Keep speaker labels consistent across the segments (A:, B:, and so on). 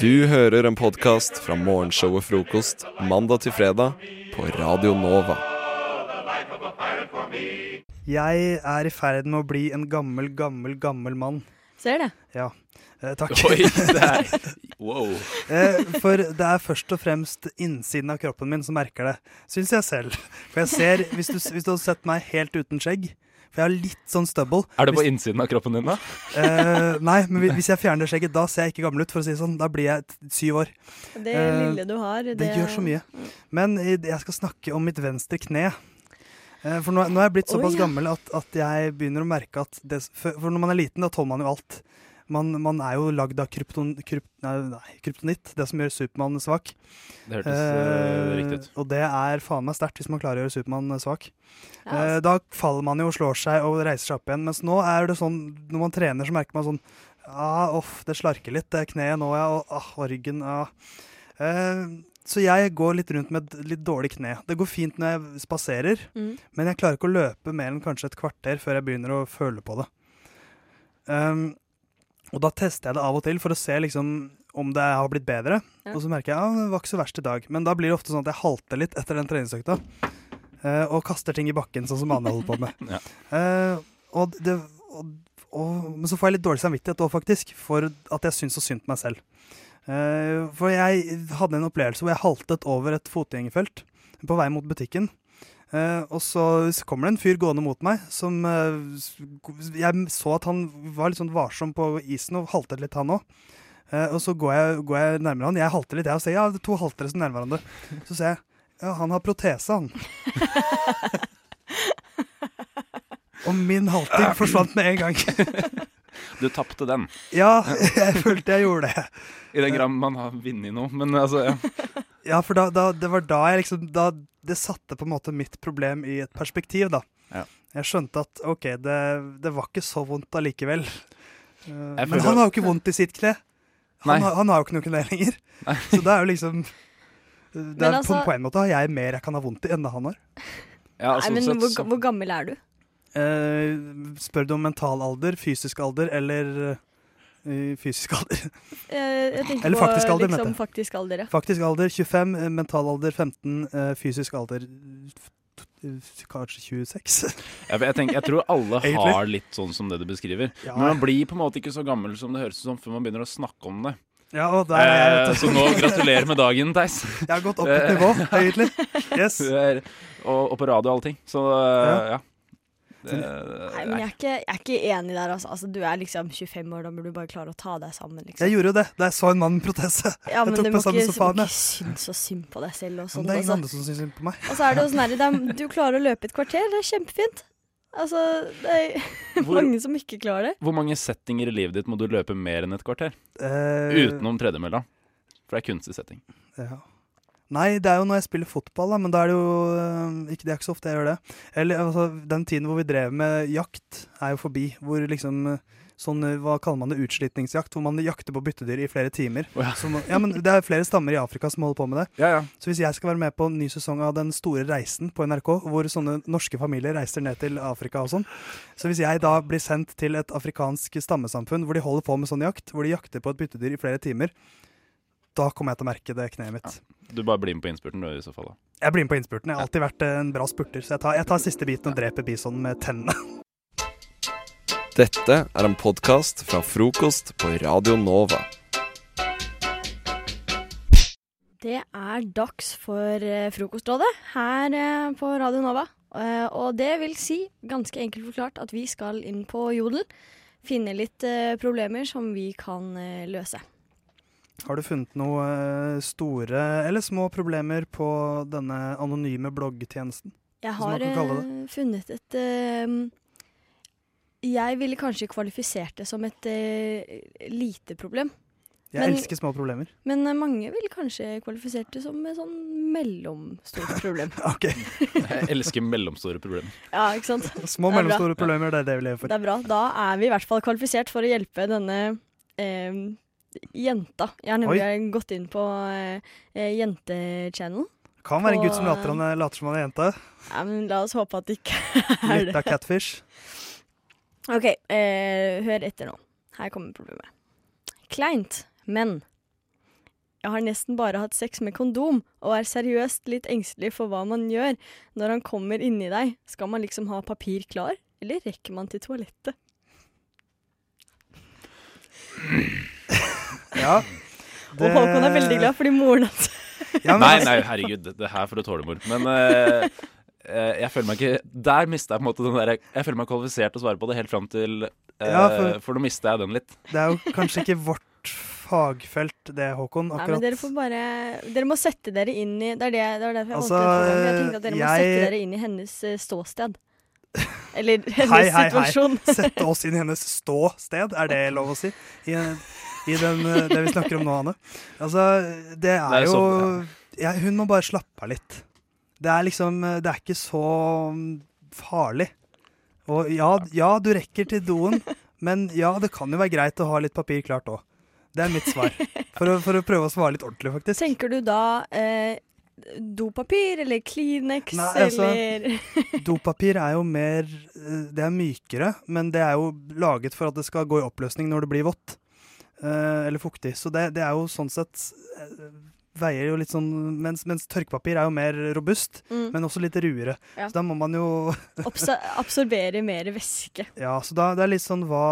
A: Du hører en podkast fra morgenshow og frokost mandag til fredag på Radio Nova.
B: Jeg er i ferd med å bli en gammel, gammel, gammel mann.
C: Ser det.
B: Ja. Eh, takk.
D: Oi, det er Wow.
B: Eh, for det er først og fremst innsiden av kroppen min som merker det, syns jeg selv. For jeg ser, hvis du, hvis du hadde sett meg helt uten skjegg For jeg har litt sånn stubble.
D: Er det på innsiden av kroppen din, da?
B: Eh, nei, men hvi- hvis jeg fjerner skjegget, da ser jeg ikke gammel ut, for å si det sånn. Da blir jeg t- syv år.
C: Det
B: Eh,
C: lille du har, det, Mm.
B: Det gjør så mye. Men i- jeg skal snakke om mitt venstre kne. Eh, For nå, nå er jeg blitt
C: Oi,
B: såpass
C: ja.
B: gammel at, at jeg begynner å merke at det, s- For for når man er liten, da tåler man jo alt. Man, man er jo lagd av krypton, kryp, nei, nei, kryptonitt, det som gjør Supermann svak.
D: Det hørtes eh, riktig ut.
B: Eh, og det er faen meg sterkt hvis man klarer å gjøre Supermann eh, svak.
C: Ja, altså.
B: Eh, Da faller man jo og slår seg og reiser seg opp igjen. Mens nå er det sånn, når man trener, så merker man sånn ah, Uff, det slarker litt. Det er kneet nå, ja. Og, ah, og ryggen. Ah. Eh, så jeg går litt rundt med et litt dårlig kne. Det går fint når jeg spaserer,
C: Mm.
B: men jeg klarer ikke å løpe mer enn kanskje et kvarter før jeg begynner å føle på det. Um, og da tester jeg det av og til for å se liksom om det har blitt bedre.
C: Ja.
B: Og så merker jeg ja, det var ikke så verst i dag. Men da blir det ofte sånn at jeg halter litt etter den treningsøkta. eh, og kaster ting i bakken, sånn som Anne holder på med.
D: Ja.
B: Eh, og det, og, og, men så får jeg litt dårlig samvittighet òg, faktisk, for at jeg syns så synd på meg selv. Eh, for jeg hadde en opplevelse hvor jeg haltet over et fotgjengerfelt på vei mot butikken. Eh, og så s- kommer det en fyr gående mot meg som eh, s- Jeg så at han var litt sånn varsom på isen og haltet litt, han òg. Eh, og så går jeg, går jeg nærmere han. Jeg halter litt, jeg, og ser ja, det er to haltere som nærmer hverandre. Så ser jeg ja, han har protese, han. og min halting forsvant med en gang.
D: Du tapte den.
B: ja, jeg følte jeg gjorde det.
D: I den grad man har vunnet noe, men altså ja.
B: Ja, for da, da, det var da jeg liksom da, Det satte på en måte mitt problem i et perspektiv, da.
D: Ja.
B: Jeg skjønte at OK, det, det var ikke så vondt allikevel. Eh,
D: Jeg
B: men
D: føler-
B: han har jo ikke vondt i sitt kne.
D: Nei.
B: Han, har- han har jo ikke noe kne lenger. Så det er jo liksom det er, på,
C: altså-
B: på en måte har jeg mer jeg kan ha vondt i enn det han har.
D: ja
C: Nei,
D: sånn
C: men
D: sett,
C: hvor,
D: så-
C: hvor gammel er du?
B: Eh, spør du om mental alder, fysisk alder eller eh, fysisk alder?
C: Eh, jeg tenker
B: Eller
C: på,
B: faktisk alder,
C: liksom,
B: Mette.
C: faktisk alder. Ja.
B: Faktisk alder 25, eh, mental alder 15, eh, fysisk alder eh, kanskje 26.
D: Ja, for jeg, tenker, jeg tror alle
B: Egentlig.
D: har litt sånn som det du beskriver.
B: Ja.
D: Men man blir på en måte ikke så gammel som det høres ut som før man begynner å snakke om det.
B: Ja, og der er jeg,
D: Eh,
B: vet
D: så nå gratulerer med dagen, Theis.
B: du. Jeg har gått opp et nivå, egentlig. Yes.
D: Du er- Og, og på radio og allting. Så eh, ja. Det,
C: Nei, men jeg er, ikke, jeg er ikke enig der, altså. altså. Du er liksom 25 år, da burde du bare klare å ta deg sammen. Liksom.
B: Jeg gjorde jo det da jeg så en mann med protese.
C: ja, men
B: tok
C: du
B: meg
C: må
B: sammen
C: ikke,
B: som
C: du må
B: faen, jeg.
C: ikke synes så synd på deg selv. Og,
B: Men
C: sånn,
B: det er ingen
C: altså.
B: andre som syns synd på meg.
C: og så er det jo sånn her, det er- du klarer å løpe et kvarter, det er kjempefint. Altså, det er
D: hvor,
C: mange som ikke klarer det.
D: hvor mange settinger i livet ditt må du løpe mer enn et kvarter?
B: Eh,
D: Utenom tredjemølla. For det er kunstig setting.
B: ja. Nei, det er jo når jeg spiller fotball, da, men da er det jo eh, ikke, Det er ikke så ofte jeg gjør det. Eller altså, den tiden hvor vi drev med jakt, er jo forbi. Hvor liksom eh, Sånn, eh, Hva kaller man det? Utslitningsjakt? Hvor man jakter på byttedyr i flere timer.
D: Å ja.
B: Så må- ja, men Det er flere stammer i Afrika som holder på med det.
D: Ja, ja.
B: Så hvis jeg skal være med på en ny sesong av Den store reisen på NRK, hvor sånne norske familier reiser ned til Afrika og sånn, så hvis jeg da blir sendt til et afrikansk stammesamfunn hvor de holder på med sånn jakt, hvor de jakter på et byttedyr i flere timer, da kommer jeg til å merke det kneet mitt.
D: Du bare blir med på innspurten, du, i så fall. da.
B: Jeg blir med på innspurten. Jeg har alltid vært eh, en bra spurter, så jeg tar, jeg tar siste biten og dreper bisonen med tennene.
A: Dette er en podkast fra frokost på Radio Nova.
C: Det er dags for eh, Frokostrådet her eh, på Radio Nova. Eh, og det vil si, ganske enkelt forklart, at vi skal inn på Jodel. Finne litt eh, problemer som vi kan eh, løse.
B: Har du funnet noen store eller små problemer på denne anonyme bloggtjenesten?
C: Jeg
B: Hvis man
C: har
B: kan kalle det.
C: eh, funnet et eh, Jeg ville kanskje kvalifisert det som et eh, lite problem.
B: Jeg
C: Men-
B: elsker små problemer.
C: Men eh, mange ville kanskje kvalifisert det som et sånn mellomstort problem.
B: Ok,
D: Jeg elsker mellomstore problemer.
C: ja, ikke sant? Det er bra.
B: Små og mellomstore problemer, det er det vi lever for.
C: Det er bra. Da er vi i hvert fall kvalifisert for å hjelpe denne eh, jenta. Jeg har nemlig gått inn på eh, eh, jentechannel.
B: Kan være en
C: på-
B: gutt som later, han, later som han er jente.
C: Ja, men la oss håpe at det ikke er
B: Litt
C: det.
B: av catfish.
C: OK, eh, hør etter nå. Her kommer problemet. Kleint, men Jeg har nesten bare hatt sex med kondom, og er seriøst litt engstelig for hva man gjør når han kommer inni deg. Skal man liksom ha papir klar, eller rekker man til toalettet?
B: Ja.
C: Og Håkon er veldig glad fordi moren hans
B: Ja, men
D: Nei,
B: altså-
D: nei, herregud, det her er for å tåle mord. Men eh, eh, jeg føler meg ikke Der mista jeg på en måte den der Jeg føler meg kvalifisert til å svare på det helt fram til eh,
B: Ja,
D: for...
B: for-
D: nå mista jeg den litt.
B: Det er jo kanskje ikke vårt fagfelt, det, Håkon.
C: Nei,
B: Akkurat.
C: men dere får bare Dere må sette dere inn i Det er det, det var derfor jeg
B: Altså,
C: valgte det. for Jeg tenkte at dere må
B: jeg-
C: sette dere inn i hennes eh, ståsted. Eller hennes
B: Hei, hei, hei.
C: situasjon.
B: Sette oss inn i hennes ståsted, er det lov å si? I, i den, eh, det vi snakker om nå, Hanne. Altså, det er,
D: Det er
B: jo
D: sånn,
B: ja, Hun må bare slappe av litt. Det er liksom eh, Det er ikke så mm, farlig. Og ja, ja, du rekker til doen, men ja, det kan jo være greit å ha litt papir klart òg. Det er mitt svar. For å, for å prøve å svare litt ordentlig, faktisk.
C: Tenker du da eh, dopapir eller Kleenex
B: Nei, altså-
C: eller
B: Dopapir er jo mer eh, Det er mykere, men det er jo laget for at det skal gå i oppløsning når det blir vått. eh, Eller fuktig. Så det, det er jo sånn sett eh, Veier jo litt sånn Mens, mens tørkepapir er jo mer robust,
C: mm,
B: men også litt ruere.
C: Ja.
B: Så da må man jo
C: obsa- absorberer mer væske?
B: Ja, så da, det er litt sånn hva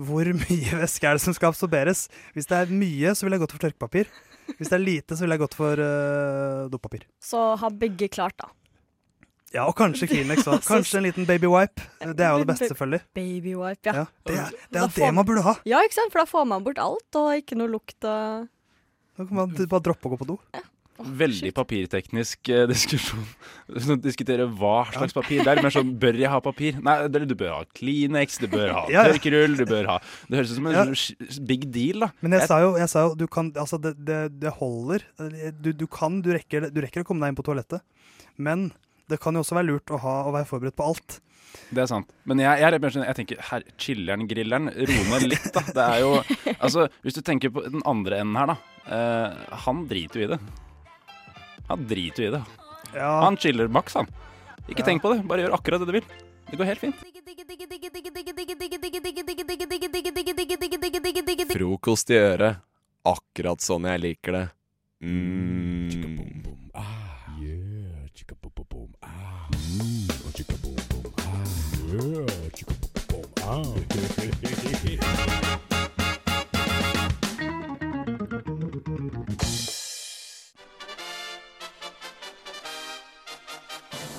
B: Hvor mye væske er det som skal absorberes? Hvis det er mye, så ville jeg gått for tørkepapir. Hvis det er lite, så ville jeg gått for eh, dopapir.
C: Så ha begge klart, da.
B: Ja, og kanskje Kleenex òg. Kanskje en liten baby wipe. Det er jo det beste, selvfølgelig.
C: Babywipe, ja.
B: Ja, det er det, er
C: Da
B: jo
C: får-
B: det man burde ha.
C: Ja, ikke sant? For da får man bort alt, og ikke noe lukt og
B: Da kan man bare droppe å gå på do.
C: Åh,
D: Veldig
C: shit.
D: papirteknisk eh, diskusjon. Sånn, Diskutere hva slags papir. Det er mer sånn Bør jeg ha papir? Nei, eller du bør ha Kleenex, du bør ha
B: Ja, ja.
D: tørkerull, du bør ha Det høres ut som en
B: Ja.
D: sh- big deal, da.
B: Men jeg sa jo, jeg sa jo du kan, altså det, det, det holder. Du, du kan, du rekker, du rekker å komme deg inn på toalettet. Men det kan jo også være lurt å, ha, å være forberedt på alt.
D: Det er sant. Men jeg, jeg, er litt mer sånn- jeg tenker her, chiller'n, grilleren, ro ned litt, da. Det er jo Altså, hvis du tenker på den andre enden her, da. eh, han driter jo i det. Han driter jo i det.
B: Ja,
D: Han chiller maks, han. Ikke
B: Ja.
D: tenk på det. Bare gjør akkurat det du vil. Det går helt fint.
A: Frokost i øret. Akkurat sånn jeg liker det. Mm.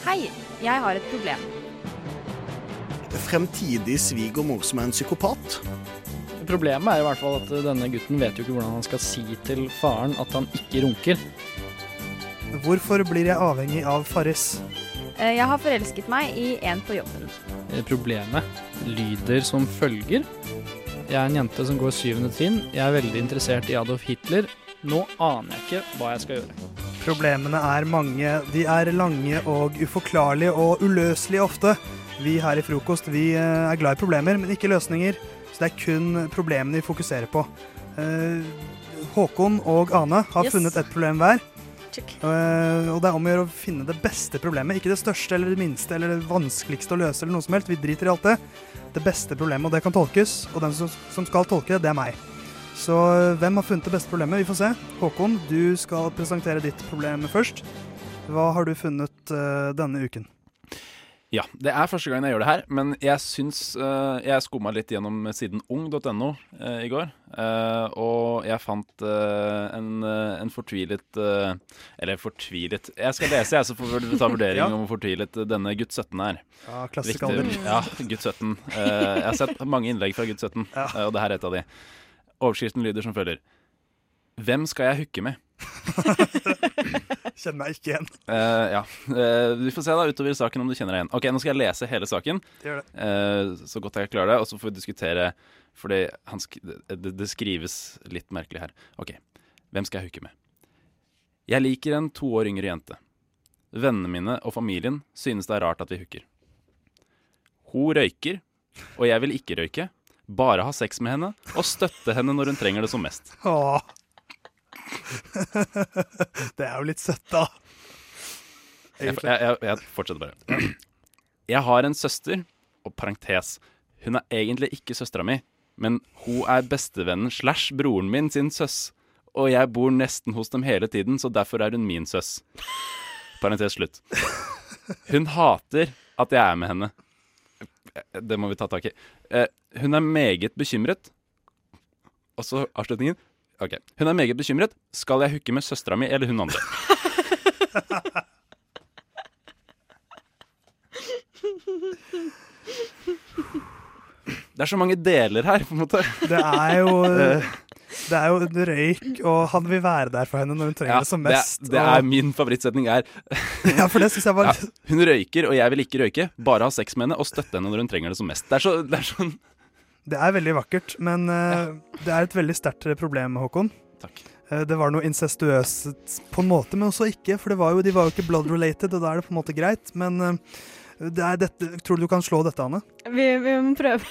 E: Hei, jeg har et problem.
F: Fremtidig svigermor som er en psykopat?
G: Problemet er i hvert fall at denne gutten vet jo ikke hvordan han skal si til faren at han ikke runker.
B: hvorfor blir jeg avhengig av Farris?
E: Eh, Jeg har forelsket meg i en på jobben.
G: Eh, Problemet lyder som følger. Jeg er en jente som går syvende trinn. Jeg er veldig interessert i Adolf Hitler. Nå aner jeg ikke hva jeg skal gjøre.
B: Problemene er mange. De er lange og uforklarlige og uløselige ofte. Vi her i Frokost vi eh, er glad i problemer, men ikke løsninger. Så det er kun problemene vi fokuserer på. Eh, Håkon og Ane har
C: Yes.
B: funnet et problem hver.
C: Check.
B: Eh, og det er om å gjøre å finne det beste problemet. Ikke det største eller det minste eller det vanskeligste å løse eller noe som helst. Vi driter i alt det. Det beste problemet, og det kan tolkes. Og den som, som skal tolke det, det er meg. Så eh, hvem har funnet det beste problemet? Vi får se. Håkon, du skal presentere ditt problem først. Hva har du funnet eh, denne uken?
D: Ja, det er første gangen jeg gjør det her, men jeg syns eh, Jeg skumma litt gjennom siden ung.no eh, i går, eh, og jeg fant eh, en, eh, en fortvilet eh, Eller fortvilet Jeg skal lese, jeg, så får dere ta vurdering
B: Ja.
D: om hvor fortvilet eh, denne gutt 17 er.
B: Ja, klassisk
D: Riktig.
B: alder.
D: Ja, gutt 17. Eh, jeg har sett mange innlegg fra gutt 17,
B: Ja.
D: eh, og det her er et av de. Overskriften lyder som følger. Hvem skal jeg hooke med?
B: Kjenner meg ikke igjen.
D: Eh, ja, Eh, Vi får se da utover i saken om du kjenner deg igjen. Ok, Nå skal jeg lese hele saken,
B: Gjør det.
D: eh, så godt jeg klarer det. Og så får vi diskutere, fordi han sk det, det skrives litt merkelig her. Ok, Hvem skal jeg hooke med? Jeg liker en to år yngre jente. Vennene mine og familien synes det er rart at vi hooker. Hun røyker, og jeg vil ikke røyke. Bare ha sex med henne og støtte henne når hun trenger det som mest.
B: Åh. det er jo litt søtt, da.
D: Jeg,
B: Egentlig.
D: jeg, jeg, jeg fortsetter bare. Jeg har en søster, og parentes. Hun er egentlig ikke søstera mi, men hun er bestevennen slash broren min sin søs. og jeg bor nesten hos dem hele tiden, så derfor er hun min søs. Parentes slutt. Hun hater at jeg er med henne. Det må vi ta tak i. Eh, Hun er meget bekymret. Og så avslutningen. Ok. Hun er meget bekymret. Skal jeg hooke med søstera mi eller hun andre? Det er så mange deler her, på en måte. Eh,
B: Det er jo Det er jo en røyk, og han vil være der for henne når hun trenger det som mest.
D: det, er- det er min favorittsetning er
B: og, ja, for det synes jeg var
D: ja, Hun røyker, og jeg vil ikke røyke. Bare ha sex med henne og støtte henne når hun trenger det som mest. Det er, så, det er sånn
B: Det er veldig vakkert, men eh, det er et veldig sterkt eh, problem, Håkon.
D: Takk.
B: Eh, Det var noe incestuøst på en måte, men også ikke. For det var jo, de var jo ikke blood related, og da er det på en måte greit. Men eh, det er dette, tror du du kan slå dette, Anne?
C: Vi, vi må prøve.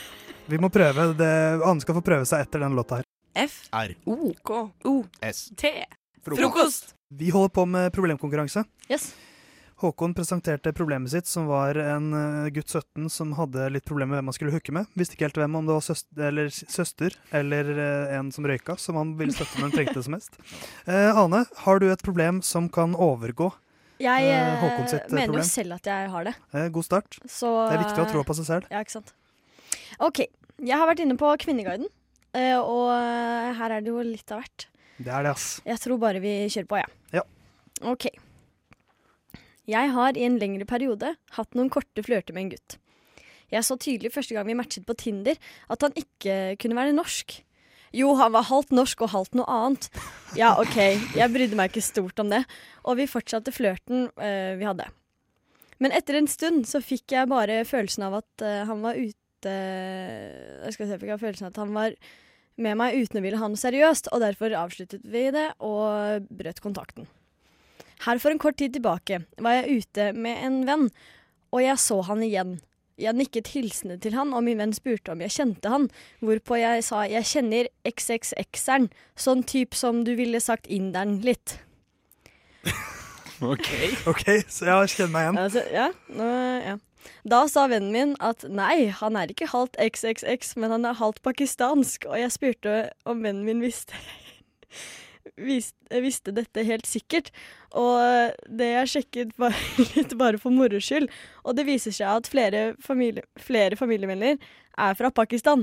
B: Vi må prøve. Det, Anne skal få prøve seg etter den låta her.
H: F
F: R.
H: O K O
F: S.
H: T.
F: Frokost.
H: Frokost.
B: Vi holder på med problemkonkurranse.
C: Yes.
B: Håkon presenterte problemet sitt, som var en eh, gutt 17 som hadde litt problemer med hvem han skulle hooke med. Visste ikke helt hvem, om det var søster eller, s- søster, eller eh, en som røyka, som han ville støtte når han trengte det som mest. Eh, Ane, har du et problem som kan overgå?
C: Jeg
B: Eh,
C: eh,
B: Håkon sitt, eh,
C: mener
B: problem.
C: jo selv at jeg har det,
B: Eh, god start.
C: så eh,
B: Det er viktig å ha troa på seg selv.
C: Ja, ikke sant. OK. Jeg har vært inne på Kvinneguiden, eh, og eh, her er det jo litt av hvert.
B: Det er det, ass.
C: Jeg tror bare vi kjører på, jeg.
B: Ja.
C: OK. Jeg har i en lengre periode hatt noen korte flørter med en gutt. Jeg så tydelig første gang vi matchet på Tinder at han ikke kunne være norsk. Jo, han var halvt norsk og halvt noe annet. Ja, OK, jeg brydde meg ikke stort om det. Og vi fortsatte flørten eh, vi hadde. Men etter en stund så fikk jeg bare følelsen av at eh, han var ute Jeg skal se, fikk jeg følelsen av at han var med meg uten å ville ha noe seriøst, og derfor avsluttet vi det og brøt kontakten. Her for en kort tid tilbake var jeg ute med en venn, og jeg så han igjen. Jeg nikket hilsende til han, og min venn spurte om jeg kjente han, hvorpå jeg sa jeg kjenner XXX-eren, sånn typ som du ville sagt inderen litt.
B: OK, så jeg kjenner meg igjen.
C: Altså, ja, nå, ja. Da sa vennen min at nei, han er ikke halvt XXX, men han er halvt pakistansk, og jeg spurte om vennen min visste Visste, visste dette helt sikkert, og det jeg sjekket var litt bare for moro skyld. Og det viser seg at flere, familie, flere familiemedlemmer er fra Pakistan.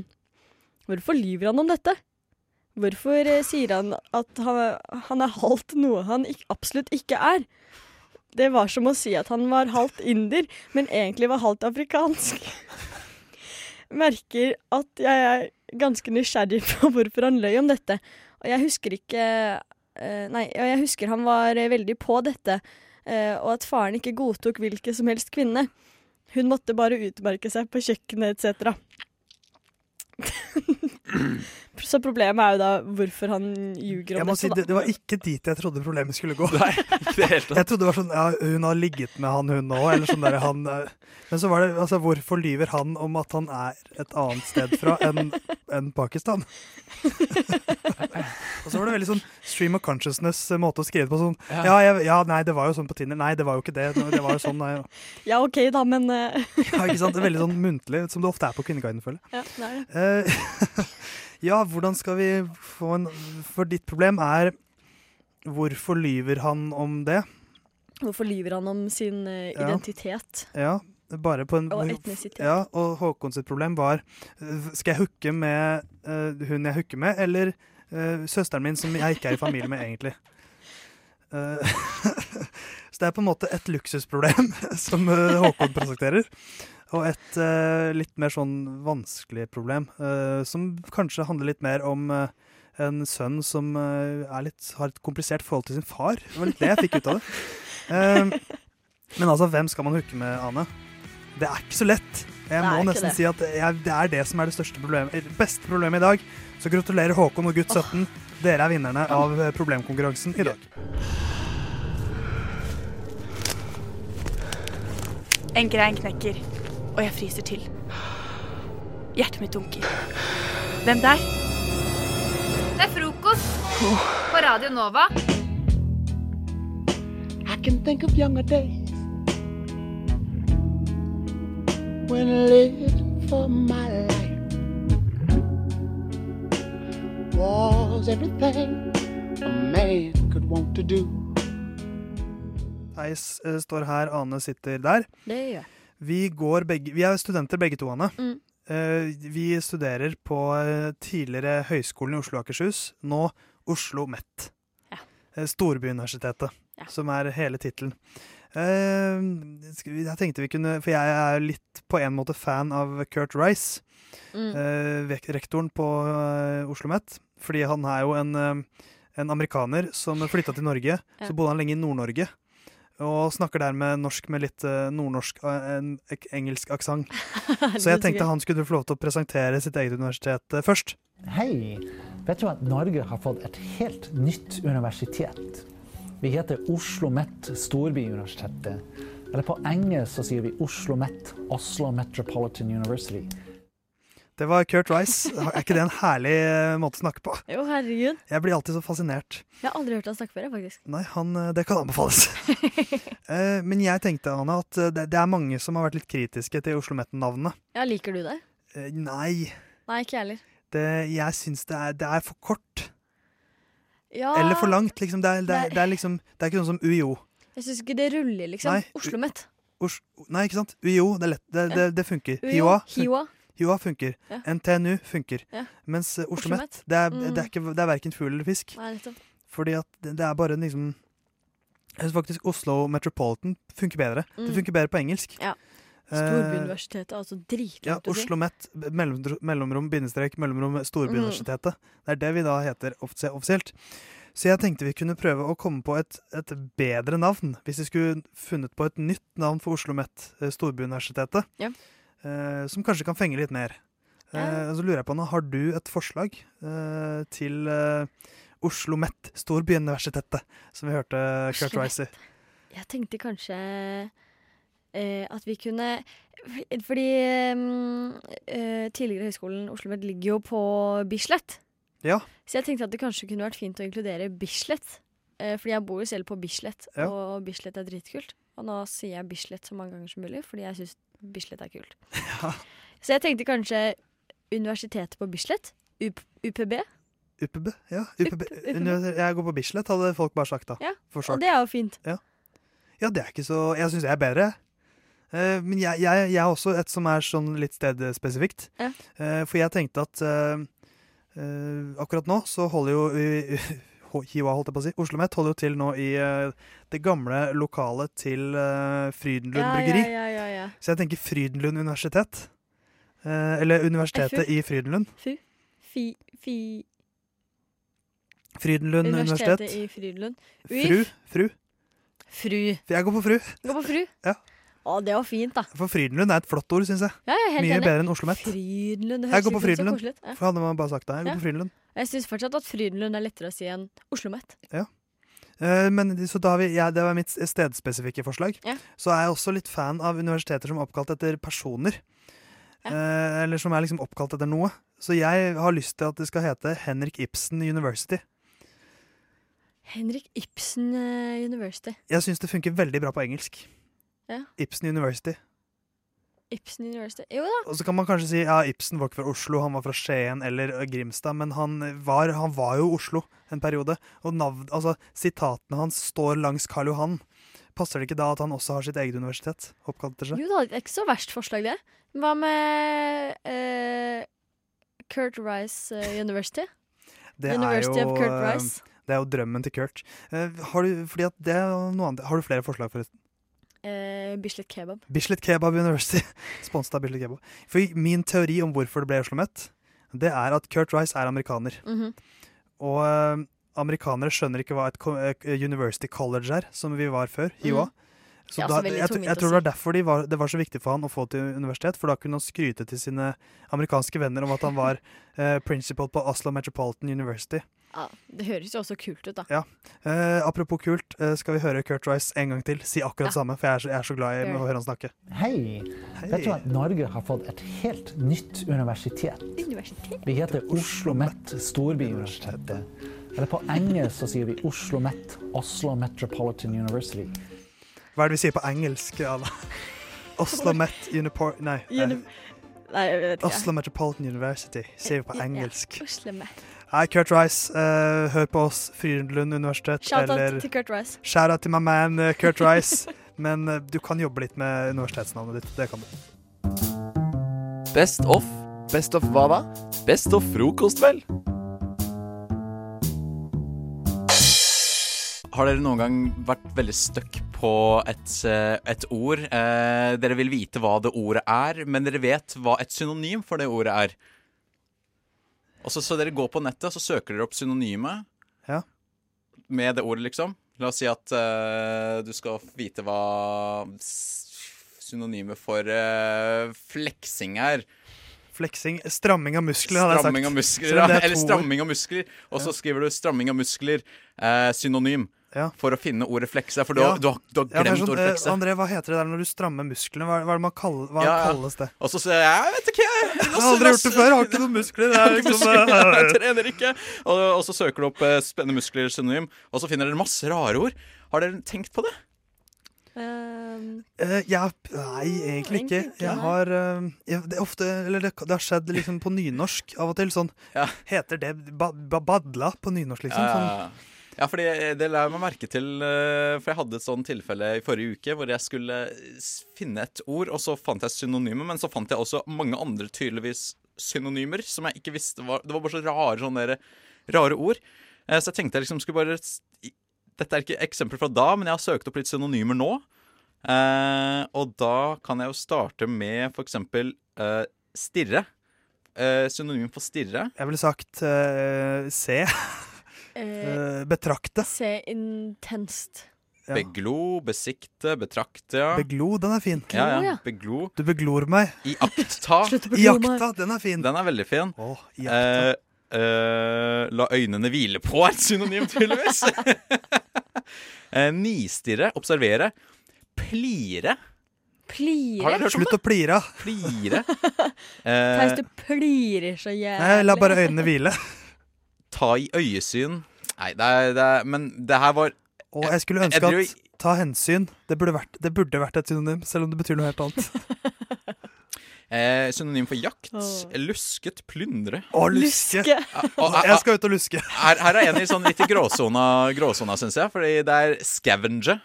C: Hvorfor lyver han om dette? Hvorfor eh, sier han at han, han er halvt noe han ikk- absolutt ikke er? Det var som å si at han var halvt inder, men egentlig var halvt afrikansk. Merker at jeg er ganske nysgjerrig på hvorfor han løy om dette. Og jeg husker ikke eh, Nei, og jeg husker han var eh, veldig på dette, eh, og at faren ikke godtok hvilken som helst kvinne. Hun måtte bare utmerke seg på kjøkkenet etc. Så problemet er jo da hvorfor han ljuger
B: Jeg
C: om
B: må
C: dette.
B: si,
C: da.
B: det, det var ikke dit jeg trodde problemet skulle gå.
D: Nei, ikke i det hele tatt.
B: Jeg trodde det var sånn ja, hun har ligget med han hun nå, eller sånn der han eh. Men så var det altså hvorfor lyver han om at han er et annet sted fra enn enn Pakistan? Og så var det veldig sånn stream of consciousness-måte å skrive det på. Sånn ja, jeg, ja, nei, det var jo sånn på Tinder. Nei, det var jo ikke det. Det var jo sånn, nei.
C: Ja, OK, da, men eh,
B: Ja, ikke sant? Det er Veldig sånn muntlig, som det ofte er på Kvinneguiden, føler jeg.
C: ja, det er det.
B: Eh, ja, hvordan skal vi få en For ditt problem er Hvorfor lyver han om det?
C: Hvorfor lyver han om sin eh,
B: Ja.
C: identitet?
B: Ja, bare på en
C: Og etnisitet.
B: Ja, og Håkon sitt problem var eh, Skal jeg hooke med eh, hun jeg hooker med, eller eh, søsteren min som jeg ikke er i familie med, egentlig? Eh, så det er på en måte et luksusproblem som eh, Håkon presenterer. Og et eh, litt mer sånn vanskelig problem, eh, som kanskje handler litt mer om eh, en sønn som eh, er litt, har et komplisert forhold til sin far. Det var litt det jeg fikk ut av det. Eh, men altså, hvem skal man hooke med, Ane? Det er ikke så lett. Jeg
C: Det er
B: må
C: ikke
B: nesten
C: det.
B: si at jeg, det er det som er det største problemet, eller beste problemet i dag. Så gratulerer Håkon og gutt 17. Dere er vinnerne av eh, problemkonkurransen i dag.
H: En grein knekker, og jeg fryser til. Hjertet mitt dunker. Hvem der?
E: Det er frokost på Radio Nova.
I: I can think of younger days when I lived for my life. Was everything a man could want to do.
B: Eis eh, står her, Ane sitter der.
C: Det gjør jeg.
B: Vi, går begge, vi er studenter begge to, Ane.
C: Mm.
B: Eh, vi studerer på eh, tidligere Høgskolen i Oslo og Akershus, nå Oslo Met.
C: Ja.
B: Eh, Storbyuniversitetet,
C: Ja.
B: som er hele tittelen. Eh, skal vi- jeg tenkte vi kunne For jeg er litt på en måte fan av Kurt Rice,
C: Mm.
B: eh, vek- rektoren på eh, Oslo Met. Fordi han er jo en, eh, en amerikaner som flytta til Norge. Så bodde han lenge i Nord-Norge. Og snakker dermed norsk med litt eh, nordnorsk og en ek- engelsk aksent.
C: er
B: Så jeg tenkte han skulle få lov til å presentere sitt eget universitet eh, først.
J: Hei! Vet du at Norge har fått et helt nytt universitet? Vi heter Oslo Met Storbyuniversitetet. Eller på engelsk så sier vi Oslo Met, Oslo Metropolitan University.
B: Det var Kurt Rice. Er ikke det en herlig eh, måte å snakke på?
C: Jo, herregud.
B: Jeg blir alltid så fascinert.
C: Jeg har aldri hørt han snakke før, jeg, faktisk.
B: Nei, han, eh, det kan anbefales. Eh, Men jeg tenkte, Anna, at eh, det det er mange som har vært litt kritiske til Oslo Met-navnet.
C: Ja, liker du det?
B: Eh, Nei,
C: Nei, ikke jeg heller.
B: det, eh, jeg syns det er, det er for kort.
C: Ja,
B: Eller for langt, liksom. Det er, det er, det er, liksom, det er ikke sånn som UiO.
C: Jeg syns ikke det ruller, liksom.
B: Nei.
C: Oslomet.
B: Os Nei, ikke sant? UiO, det er lett. Det, det, det funker. HiOA fun
C: Hiwa.
B: HiOA funker.
C: Ja.
B: NTNU funker.
C: Ja.
B: Mens eh, Oslo
C: Oslomet.
B: Met, det er,
C: Mm.
B: det er, ikke- det er verken fugl eller fisk.
C: Nei, nettopp.
B: Fordi at det, det er bare en liksom Jeg syns faktisk Oslo Metropolitan funker bedre. Det
C: Mm.
B: funker bedre på engelsk.
C: Ja.
B: Eh,
C: Storbyuniversitetet, altså
B: ja,
C: dritlangt
B: Oslo Met, b- mellomdro- mellomrom, bindestrek, mellomrom, Storbyuniversitetet.
C: Mm.
B: Det er det vi da heter offis- offisielt. Så jeg tenkte vi kunne prøve å komme på et, et bedre navn. Hvis vi skulle funnet på et nytt navn for Oslo Met, eh, Storbyuniversitetet.
C: Ja.
B: eh, som kanskje kan fenge litt mer.
C: Ja.
B: Eh, så lurer jeg på, Anna, har du et forslag eh, til eh, Oslo Met, Storbyuniversitetet, som vi hørte Kurt
C: Oslo
B: Rice i?
C: Jeg tenkte kanskje eh, at vi kunne Fordi mm, eh, tidligere Høgskolen Oslomet ligger jo på Bislett.
B: Ja.
C: Så jeg tenkte at det kanskje kunne vært fint å inkludere Bislett. Eh, fordi jeg bor jo selv på Bislett,
B: Ja.
C: og Bislett er dritkult. Og nå sier jeg Bislett så mange ganger som mulig, fordi jeg syns Bislett er kult. Så jeg tenkte kanskje Universitetet på Bislett. UP UPB.
B: UPB? Ja, UPB.
C: UPB.
B: Univers- Jeg går på Bislett, hadde folk bare sagt da.
C: Ja,
B: For
C: Og
B: short.
C: det er jo fint.
B: Ja, det er ikke så Jeg syns jeg er bedre. Eh, men jeg, jeg, jeg har også et som er sånn litt stedspesifikt.
C: Ja.
B: Eh, for jeg tenkte at eh, eh, akkurat nå så holder jo uh, Hiwa, holdt jeg på å si. OsloMet holder jo til nå i eh, det gamle lokalet til eh, Frydenlund
C: Ja,
B: bryggeri.
C: Ja, ja, ja, ja.
B: Så jeg tenker Frydenlund universitet. Eh, eller Universitetet i Frydenlund.
C: Fy. Fi, fi,
B: Frydenlund
C: universitetet
B: universitet.
C: i Frydenlund.
B: Fru. Fru.
C: Fru.
B: Jeg går på Fru.
C: Gå på fru.
B: Ja.
C: Å, det var fint, da.
B: For Frydenlund er et flott ord, syns jeg.
C: Ja, jeg er helt
B: Mye
C: enig.
B: bedre enn OsloMet.
C: Frydenlund. Det
B: Jeg
C: høres
B: går på
C: ut som så
B: Frydenlund.
C: koselig ut. Ja.
B: For hadde man bare sagt det. Jeg går
C: Ja.
B: på Frydenlund.
C: Jeg syns fortsatt at Frydenlund er lettere å si enn Oslomet.
B: Eh, Men, så da har vi, ja, det var mitt stedspesifikke forslag.
C: Ja.
B: Så er jeg også litt fan av universiteter som er oppkalt etter personer.
C: Ja.
B: Eh, eller som er liksom oppkalt etter noe. Så jeg har lyst til at det skal hete Henrik Ibsen University.
C: Henrik Ibsen eh, University.
B: Jeg syns det funker veldig bra på engelsk.
C: Ja.
B: Ibsen University.
C: Ibsen University. Jo da.
B: Og så kan man kanskje si ja, Ibsen var ikke fra Oslo, han var fra Skien eller eh, Grimstad, men han var, han var jo Oslo en periode. Og navn, altså, sitatene hans står langs Karl Johan. Passer det ikke da at han også har sitt eget universitet oppkalt etter seg?
C: Jo da, det er ikke så verst forslag, det. Hva med eh, Kurt Rice eh, University?
B: Det
C: University
B: er jo,
C: of Kurt
B: eh,
C: Rice.
B: Det er jo drømmen til Kurt. Eh, Har du, fordi at det er noe annet. Har du flere forslag, forresten?
C: Eh, Bislett Kebab.
B: Bislett Kebab University. Sponset av Bislett Kebab. For min teori om hvorfor det ble Oslo Met, det er at Kurt Rice er amerikaner.
C: Mhm.
B: Og eh, amerikanere skjønner ikke hva et co- eh, University College er, som vi var før. HiOA. Så
C: Mhm. Det er
B: da,
C: også veldig
B: jeg, tr-
C: tungvint
B: jeg
C: å
B: tror det var derfor de var, det var så viktig for han å få til universitet, for da kunne han skryte til sine amerikanske venner om at han var eh, principal på Oslo Metropolitan University.
C: Ja, det høres jo også kult ut, da.
B: Eh, apropos kult, eh, skal vi høre Kurt Rice en gang til si akkurat det samme? For jeg er, så, jeg er så glad i
C: Gjør
B: å
C: det.
B: høre han snakke.
J: Hei! Vet du
B: Hei.
J: at Norge har fått et helt nytt universitet?
C: Universitet.
J: Vi heter Oslo Met Storbyuniversitetet. Eller på engelsk så sier vi Oslo Met, Oslo Metropolitan University.
B: Hva er det vi sier på engelsk? Anna? Oslo Met Unipor... Nei. eh,
C: Uni- Nei, jeg vet ikke.
B: Oslo Metropolitan University sier vi på
C: Ja, ja.
B: engelsk.
C: Oslomet.
B: Hei, Kurt Rice. Eh, hør på oss, Frydenlund universitet.
C: Shout-out
B: eller-
C: til Kurt Rice.
B: Shout-out til my man eh, Kurt Rice. Men eh, du kan jobbe litt med universitetsnavnet ditt. Det kan du.
A: Best of. Best of hva da? Best of frokost, vel?
K: Har dere noen gang vært veldig stuck på et, eh, et ord? Eh, dere vil vite hva det ordet er, men dere vet hva et synonym for det ordet er. Og så, så dere går på nettet og så søker dere opp synonymet
B: Ja.
K: med det ordet, liksom. La oss si at eh, du skal vite hva s- synonymet for eh, fleksing er.
B: Fleksing. Stramming av muskler, hadde jeg sagt.
K: Stramming av muskler,
B: Selv om det
K: ja.
B: er
K: Eller
B: to ord.
K: stramming av muskler. Og så skriver du 'stramming av muskler' eh, synonym. For å finne ordet 'flekse'. For du,
B: Ja.
K: har, du, har, du har
B: Ja, det er
K: glemt
B: sånn,
K: ordet
B: eh,
K: 'flekse'.
B: André, hva heter det der når du strammer musklene? Hva, hva, er det man kaller, hva
K: Ja, ja.
B: kalles det?
K: Og så sier jeg jeg vet ikke, jeg.
B: Jeg har aldri gjort det før. Har ikke noen muskler. Det er
K: Jeg har ikke
B: liksom,
K: muskler, jeg
B: eh,
K: trener ikke. Og, og så søker du opp eh, 'spennende muskler' synonym, og så finner dere masse rare ord. Har dere tenkt på det?
E: Ehm.
B: eh, jeg- nei, egentlig ikke. Jeg har eh, jeg, det, er ofte, eller det, det har skjedd liksom på nynorsk av og til. Sånn, Heter det ba, ba, badla på nynorsk, liksom? Sånn,
K: Ja, ja, fordi det la jeg meg merke til eh, For jeg hadde et sånn tilfelle i forrige uke Hvor jeg skulle s- finne et ord Og så fant jeg synonymer Men så fant jeg også mange andre tydeligvis synonymer Som jeg ikke visste var Det var bare så rare, sånne der, rare ord Eh, Så jeg tenkte jeg liksom skulle bare s- i- Dette er ikke eksempel fra da Men jeg har søkt opp litt synonymer nå Eh, Og da kan jeg jo starte med For eksempel eh, stirre Eh, Synonymen for stirre
B: jeg ville sagt eh, se. Eh, betrakte.
C: Se intenst.
K: Beglo, besikte, betrakte. Ja.
B: Beglo, den er fin.
K: Ja,
B: Glo,
K: ja.
B: ja.
K: Beglo.
B: Du beglor meg.
K: Iaktta.
B: Slutt å beglo meg. Iaktta, den er fin.
K: Den er veldig fin. eh, eh, la øynene hvile på er et synonym, tydeligvis. eh, nistirre, observere. Plire.
C: Plire.
K: Har dere hørt om
B: Slutt å plire.
K: Plire.
C: Theis,
K: Eh,
C: det plirer så jævlig.
B: Nei, la bare øynene hvile.
K: ta i øyesyn. Nei, det er, det er Men det her var
B: Og jeg skulle
K: Jeg- jeg
B: ønske
K: tror
B: at ta hensyn. Det burde, vært, det burde vært et synonym, selv om det betyr noe helt annet.
K: eh, synonym for jakt.
B: Åh.
K: Lusket, plyndre.
B: Å, luske.
K: Ja, og-
B: Jeg skal ut og luske.
K: Her, her er en i sånn litt i gråsona, gråsona syns jeg, fordi det er scavenger.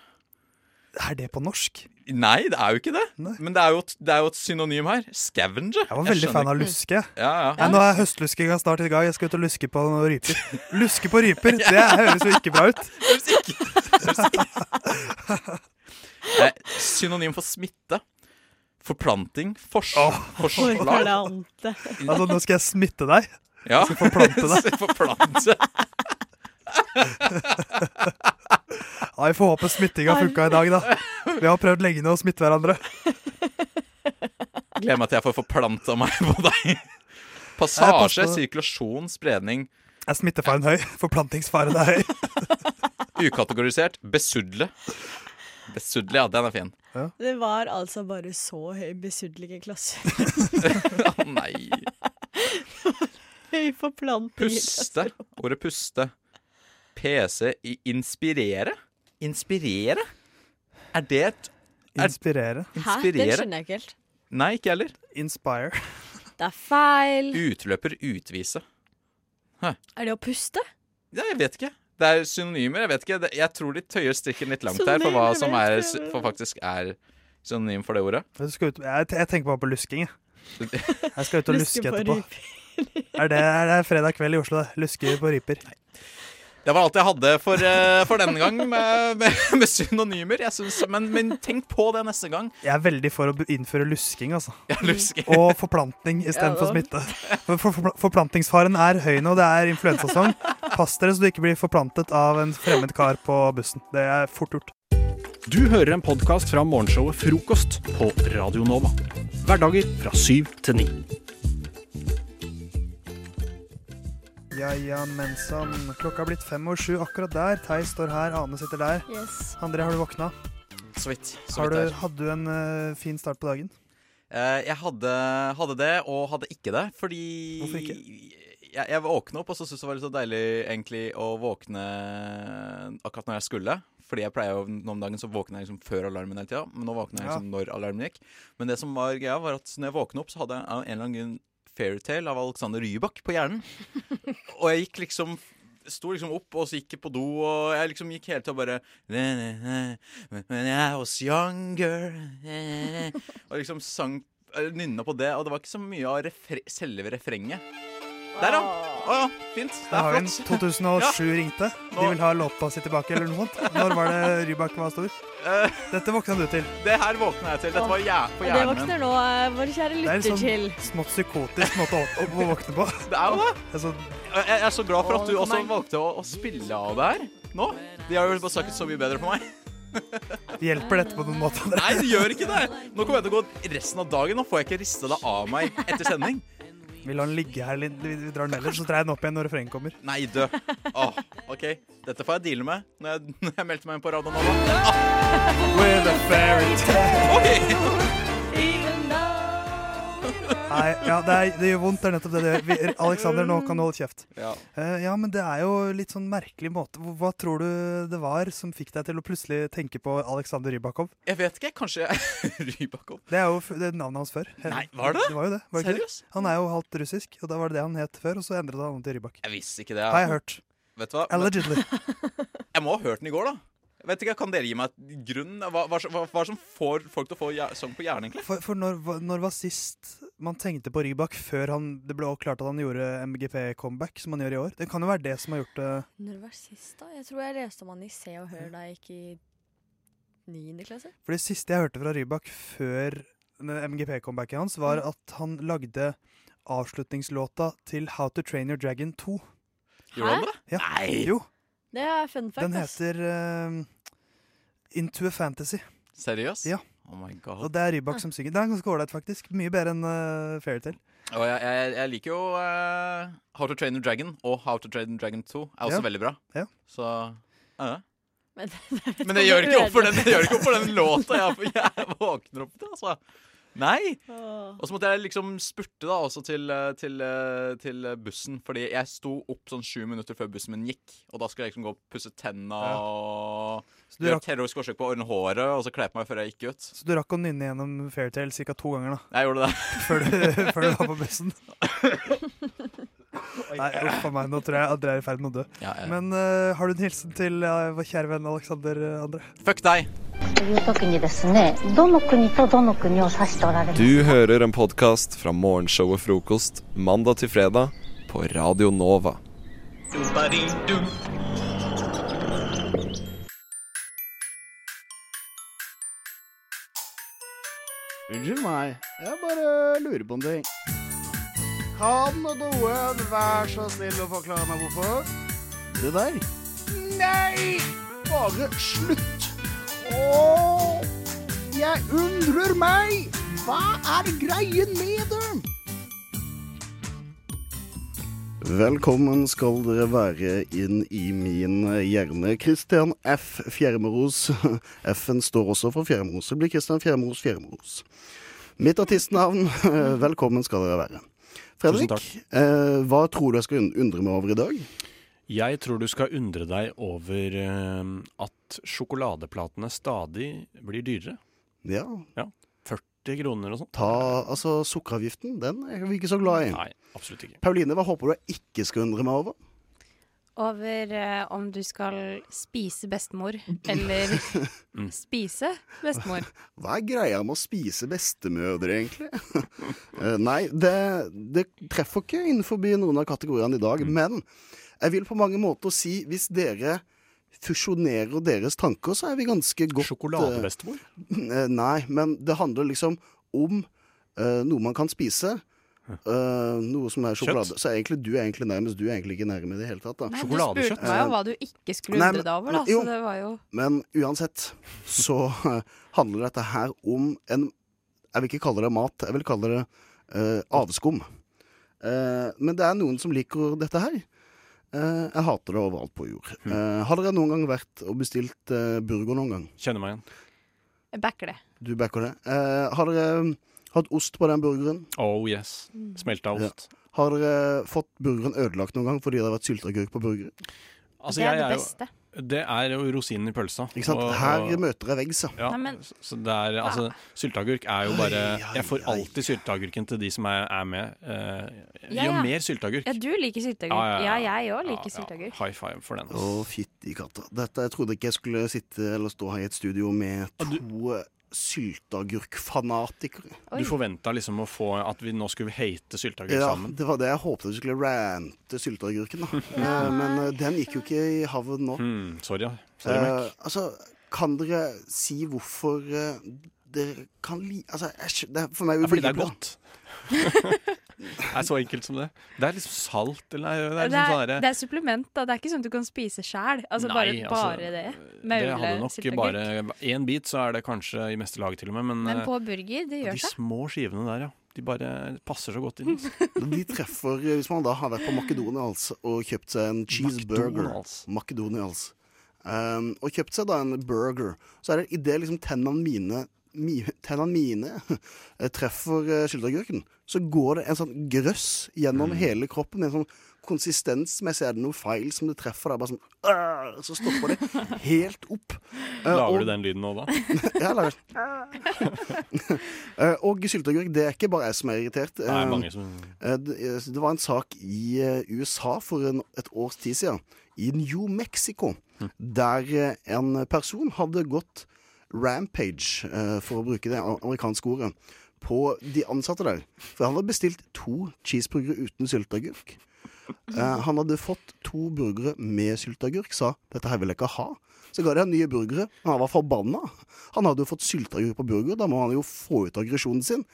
B: Er det på norsk?
K: Nei, det er jo ikke det. Men det er jo, et- det er jo et synonym her. Scavenger.
B: Jeg var veldig fan av luske.
K: Ja, ja.
B: Nei, nå er høstluskinga snart i gang. Jeg skal ut og luske på noen ryper. Luske på ryper, det høres jo ikke bra ut.
K: Eh, synonym for smitte. Forplanting. Fors, forslag.
B: Altså, nå skal jeg smitte deg.
K: Ja.
B: Jeg skal forplante deg.
K: Forplante.
B: Ja, Vi får håpe smittinga funka i dag, da. Vi har prøvd lenge nå å smitte hverandre.
K: Gleder meg til jeg får forplanta meg på deg.
B: passer
K: Passasje,
B: på
K: sirkulasjon, spredning.
B: Er smittefaren høy? Forplantingsfaren er høy.
K: Ukategorisert. Besudle. Besudle, ja, den er fin.
C: Det var altså bare så høy besudling i klassen.
K: Å nei.
C: høy forplanting. i klassen.
K: Puste. Ordet puste. PC. i- Inspirere? Inspirere? Er det et er,
B: Inspirere.
C: Hæ? Den skjønner jeg ikke helt.
K: Nei, ikke jeg heller.
B: Inspire.
C: Det er feil.
K: Utløper. Utvise.
C: Er det å puste?
K: Ja, jeg vet ikke. Det er synonymer. Jeg vet ikke. Det- Jeg tror de tøyer strikken litt langt her for hva
B: Synonymer,
K: som
B: vet
K: er,
B: du.
K: for faktisk er synonym for det ordet.
B: Du skal ut, jeg, jeg tenker bare på lusking, jeg. Jeg skal ut og
K: Luske
B: luske
K: på
B: etterpå. Er det, er det fredag kveld i Oslo? det? Luske på ryper.
K: Det var alt jeg hadde for, eh, for denne gang med, med, med synonymer. Jeg synes, men, men tenk på det neste gang.
B: Jeg er veldig for å be- innføre lusking, altså.
K: lusking.
B: Og forplantning
K: Ja,
B: istedenfor
K: da.
B: smitte. For, for, for, forplantingsfaren er høy nå, det er influensasong. Pass dere så du ikke blir forplantet av en fremmed kar på bussen. Det er fort gjort.
L: Du hører en podkast fra morgenshowet Frokost på Radio Nova. Hverdager fra syv til ni.
B: Ja ja, mensan. Klokka er blitt fem over sju akkurat der. Theis står her, Ane sitter der.
C: Yes.
B: André, har du våkna?
K: Så vidt. Så
B: Har
K: vidt
B: du,
K: det er.
B: hadde du en eh, fin start på dagen?
K: Eh, jeg hadde, hadde det, og hadde ikke det, fordi Hvorfor ikke? Jeg, jeg våkna opp, og så syntes jeg det var litt så deilig egentlig å våkne akkurat når jeg skulle. Fordi jeg pleier jo nå om dagen så våkner jeg liksom før alarmen hele tida. Men nå våkner jeg
M: Ja.
K: liksom når alarmen gikk. Men det som var greia, var at når jeg våkna opp, så hadde jeg av en eller annen grunn Fairytale av Alexander Rybak på hjernen. Og jeg gikk liksom Sto liksom opp og så gikk jeg på do, og jeg liksom gikk hele tida bare When I was younger Og liksom sang Nynna på det, og det var ikke så mye av refre selve refrenget. Der, ja. Å ja, fint. Det
B: Jeg
K: er
B: har en
K: flott.
B: 2007 ringte. De vil ha låta si tilbake, eller noe sånt. Når var det Rybak var stor?
K: Eh.
B: Dette våkna du til.
K: Det her våkna jeg til. Dette var jæ- på
C: Og det
K: hjernen min.
C: våkner nå, eh, våre kjære
B: Det er en
C: lytter til.
B: sånn smått psykotisk måte å, å, å våkne på.
K: Det er jo det.
B: Altså,
K: Jeg jeg er så glad for at du
B: Å,
K: også
B: nei.
K: valgte å, å spille av det her nå. De har jo bare snakket så mye bedre for meg.
B: hjelper dette på noen måte?
K: Nei, det gjør ikke det. Nå kommer jeg til å gå resten av dagen. Nå får jeg ikke rista det av meg etter sending.
B: Vi lar den ligge her litt, vi vi drar den ellers, så dreier jeg den opp igjen når refrenget kommer.
K: Nei, dø. Åh, OK. Dette får jeg deale med når jeg, når jeg meldte meg inn på Radio Nova. Ah.
B: Nei, ja, det, er, det gjør vondt, det er nettopp det det gjør. Vi, Alexander, nå kan du holde kjeft.
K: Ja.
B: Eh, ja, men det er jo litt sånn merkelig måte. Hva hva tror du det var som fikk deg til å plutselig tenke på Alexander Rybakov?
K: Jeg vet ikke. Kanskje Rybakov.
B: Det er jo f- det er navnet hans før.
K: Nei, var det?
B: Det var jo det. Var det ikke det?
K: Seriøst?
B: Han er jo halvt russisk, og da var det det han het før, og så endret han navnet til Rybak.
K: Jeg visste ikke det.
B: Har jeg hørt.
K: Vet du hva?
B: Allegedly.
K: Jeg må ha hørt den i går, da. Jeg vet ikke, Kan dere gi meg et grunn? Hva, hva, hva, hva som får folk til å få hjer- sang på hjernen, egentlig?
B: For, for når, var- når var sist man tenkte på Rybak før han, det ble også klart at han gjorde MGP-comeback, som han gjør i år? Det kan jo være det som har gjort eh, det
C: Når var sist, da? Jeg tror jeg leste om han i Se og Hør da jeg gikk i niende klasse.
B: For det siste jeg hørte fra Rybak før MGP-comebacket hans, var at han lagde avslutningslåta til How to Train Your Dragon 2.
C: Gjorde han Hæ? det?
B: Ja.
C: Nei!
B: Jo,
C: Det er fun fact.
B: den
C: ass.
B: heter eh, Into a Fantasy.
K: Seriøst?
B: Ja.
K: Oh my god.
B: Og det er Rybak som synger. Det er ganske ålreit, faktisk. Mye bedre enn uh, Fairytale.
K: Og jeg, jeg, jeg liker jo eh, How to Train Your Dragon og How to Train Your Dragon 2 er også
B: Ja.
K: veldig bra.
B: Ja.
K: Så ja, ja.
C: Men,
K: Men det gjør ikke opp for den, det gjør ikke opp for den låta jeg, for jeg våkner opp til, altså. Nei!
C: Åh.
K: Og så måtte jeg liksom spurte da også til, eh, til, eh, til eh, bussen, fordi jeg sto opp sånn sju minutter før bussen min gikk. Og da skulle jeg liksom gå og pusse tenna
B: Ja.
K: og
B: Så du
K: gjøre
B: rakk-
K: terrorisk forsøk på å ordne håret, og så kle på meg før jeg gikk ut.
B: Så du rakk å nynne gjennom Fairytale ca. to ganger, da.
K: Jeg gjorde det.
B: Før du, før du var på bussen. Nei, uff a meg, nå tror jeg at dere er i ferd med å dø.
K: Ja, ja.
B: Men eh, har du en hilsen til eh, vår kjære venn Alexander eh, André?
K: Fuck deg!
M: という時にですねどの国とどの国を指しておられます
A: Du hører en podkast fra morgenshowet Frokost mandag til fredag på Radio Nova.
I: Unnskyld meg, jeg bare lurer på en ting. Kan noen være så snill å forklare meg hvorfor? Det der? Nei! Bare slutt! Åh, jeg undrer meg! Hva er greien med dem?
F: Velkommen skal dere være inn i min hjerne. Christian F. Fjermeros. F-en står også for Fjermeros. Det blir Christian Fjermeros Fjermeros. Mitt artistnavn. Velkommen skal dere være.
N: Tusen
F: Fredrik,
N: takk.
F: eh, hva tror du jeg skal und- undre meg over i dag?
N: Jeg tror du skal undre deg over eh, at sjokoladeplatene stadig blir dyrere.
F: Ja.
N: 40 kroner og sånn.
F: Ta altså sukkeravgiften. Den er vi ikke så glad i.
N: Nei, absolutt ikke.
F: Pauline, hva håper du jeg ikke skal undre meg over?
E: Over eh, om du skal spise bestemor eller
N: Mm.
E: spise bestemor.
F: Hva er greia med å spise bestemødre, egentlig? Eh, Nei, det, det treffer ikke innenfor noen av kategoriene i dag. Men jeg vil på mange måter si hvis dere fusjonerer deres tanker, så er vi ganske godt
N: Sjokoladebestemor?
F: Eh, Nei, men det handler liksom om eh, noe man kan spise. eh, noe som er sjokolade.
N: Kjøtt?
F: Så er egentlig, du er egentlig nærmest. Du er egentlig ikke nærme i det hele tatt. Da.
E: Nei, du spurte meg jo hva du ikke skulle
F: Nei,
E: undre
F: men-
E: deg over, da.
F: jo.
E: Så det var jo
F: Men uansett så eh, handler dette her om en Jeg vil ikke kalle det mat, jeg vil kalle det eh, avskum. Eh, men det er noen som liker dette her. Eh, jeg hater det overalt på jord.
N: Hmm.
F: Eh, har dere noen gang vært og bestilt eh, burger noen gang?
N: Kjenner meg igjen.
E: Jeg backer det.
F: Du backer det. Eh, har dere hatt ost på den burgeren?
N: Oh yes.
F: Mm.
N: Smelta ost.
F: Ja. Har dere fått burgeren ødelagt noen gang fordi det har vært sylteagurk på burgeren?
N: Altså, jeg er jo- Det er jo rosinen i pølsa.
F: Ikke sant? Her møter jeg veggs,
N: ja.
F: Nei,
N: men- Så det er, altså, sylteagurk er jo bare Jeg får alltid sylteagurken til de som er, er med. Eh,
E: Ja,
N: jo
E: ja.
N: mer sylteagurk.
E: Ja, du liker sylteagurk.
N: Ja,
E: Ja,
N: ja, ja.
E: jeg òg liker sylteagurk.
N: High five for den.
F: Å, fytti katta. Dette, jeg trodde ikke jeg skulle sitte eller stå her i et studio med to eh, sylteagurkfanatikere.
N: Du forventa liksom å få at vi nå skulle hate sylteagurk
F: Ja,
N: sammen.
F: det var det jeg håpet du skulle rante sylteagurken, da. Eh, Men eh, den gikk jo ikke i havn nå.
N: Hmm, sorry. ja. sorry Mac.
F: Eh, altså, kan dere si hvorfor eh, dere kan li... Altså, jeg, skj- det er for meg
N: Ja, fordi det er
F: ubegripelig.
N: godt. Det er så enkelt som det. Det er liksom salt eller nei, Det er
E: Det
N: liksom
E: er,
N: sånn derre-
E: det er supplement, da. Det er ikke sånn du kan spise sjæl. Altså,
N: Nei,
E: bare,
N: altså,
E: bare det.
N: Det hadde
E: Maule,
N: nok
E: sylteagurk.
N: bare én bit, så er det kanskje i meste laget til og med. Men,
E: Men
N: eh,
E: på burger, det
N: ja,
E: gjør
N: de
E: seg.
N: små skivene der, ja. De bare passer så godt inn.
F: De treffer eh, Hvis man da har vært på McDonald's og kjøpt seg en cheeseburger
N: McDonald's.
F: McDonald's. Ehm, og kjøpt seg da en burger, så er det idet liksom tennene mine mi, Tennene mine eh, treffer uh, sylteagurken, så går det en sånn grøss gjennom
N: Mm.
F: hele kroppen. En sånn konsistensmessig er det noe feil som det treffer. Det er bare sånn «Åh!» Så stopper det helt opp. Eh, og-
N: Lager du den lyden nå, da?
F: ja, eller Eh, Og sylteagurk, det er ikke bare jeg som er irritert.
N: Det er
O: Ehm,
F: Eh,
N: mange som
F: eh, Det eh, det var en sak i eh, USA for en, et års tid siden, i New Mexico, der eh, en person hadde gått rampage, eh, for å bruke det amerikanske ordet, på de ansatte der. For han hadde bestilt to cheeseburgere uten sylteagurk. Eh, han hadde fått to burgere med sylteagurk, sa 'dette her vil jeg ikke ha'. Så ga de han nye burgere, men han var forbanna. Han hadde jo fått sylteagurk på burger, da må han jo få ut aggresjonen sin.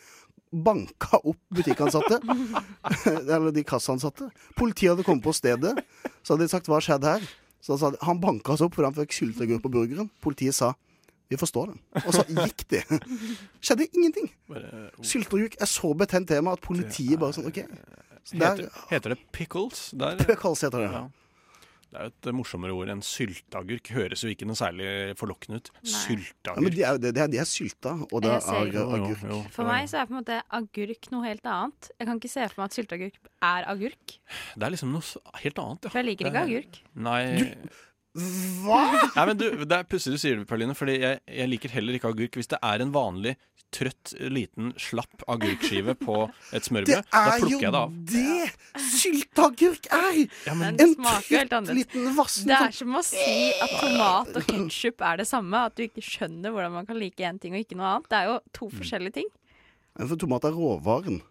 F: Banka opp butikkansatte, eller de kassaansatte. Politiet hadde kommet på stedet, så hadde de sagt 'hva skjedde her'? Så sa de, Han banka oss opp fordi han fikk sylteagurk på burgeren. Politiet sa 'vi forstår det', og så gikk de. Skjedde ingenting.
N: bare
F: Sylteagurk er så betent tema at politiet bare sånn OK. Så
N: Heter,
F: der-
N: heter det pickles? Der? eh.
F: Pickles heter det.
N: Det er jo et eh, morsommere ord enn sylteagurk. Høres jo ikke noe særlig forlokkende ut.
F: Ja, men
N: Sylteagurk.
F: de er, jo det, det er, de er sylta, og det
E: Jeg
F: er øh,
E: ser ikke.
F: ag- agurk.
E: For meg så er på en måte agurk noe helt annet. Jeg kan ikke se for meg at sylteagurk er agurk.
N: Det er liksom noe s- helt annet, ja.
E: For jeg liker
N: Det
E: ikke
N: er-
E: agurk.
N: Nei.
F: Hva?!
N: Nei, men du, Det er pussig du sier det, Pauline, Fordi jeg, jeg liker heller ikke agurk. Hvis det er en vanlig trøtt, liten, slapp agurkskive på et smørbrød, da
F: er jo
N: plukker jeg det av.
F: det sylteagurk er!
E: Den
F: en
E: smaker helt
F: trøtt
E: annerledes.
F: liten vassen
E: Det er som å si at tomat og ketsjup er det samme. At du ikke skjønner hvordan man kan like én ting og ikke noe annet. Det er jo
N: Mm.
E: to forskjellige ting.
F: Ja, For tomat er råvaren,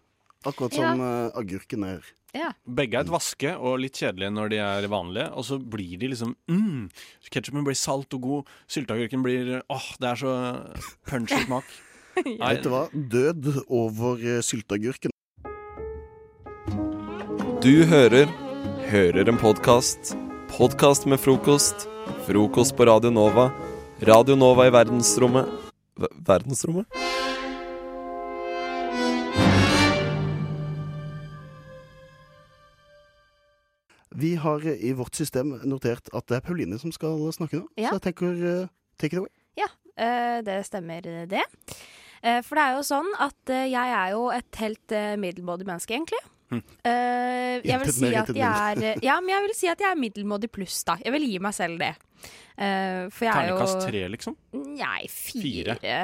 F: akkurat
E: Ja.
F: som eh, agurken er.
E: Ja.
N: Begge er et vaske og litt kjedelige når de er vanlige, og så blir de liksom mm, Ketsjupen blir salt og god, sylteagurken blir åh, det er så punchy smak. Nei,
F: Vet du hva? Død over eh, sylteagurken.
A: Du hører Hører en podkast. Podkast med frokost. Frokost på Radio Nova. Radio Nova i verdensrommet Ver- Verdensrommet?
F: Vi har eh, i vårt system notert at det er Pauline som skal snakke nå,
E: Ja.
F: så jeg tenker eh, take it away.
E: Ja, eh, det stemmer det. Eh, For det er jo sånn at eh, jeg er jo et helt eh, middelmådig menneske, egentlig.
N: Hm.
E: Eh, jeg vil
N: Intet
E: si
N: mer,
E: at
N: intet
E: jeg er
N: mindre.
E: Ja, men jeg vil si at jeg er middelmådig pluss, da. Jeg vil gi meg selv det. Eh, for jeg er jo
N: Ternekast tre, liksom?
E: Nei, fire.
N: Fire.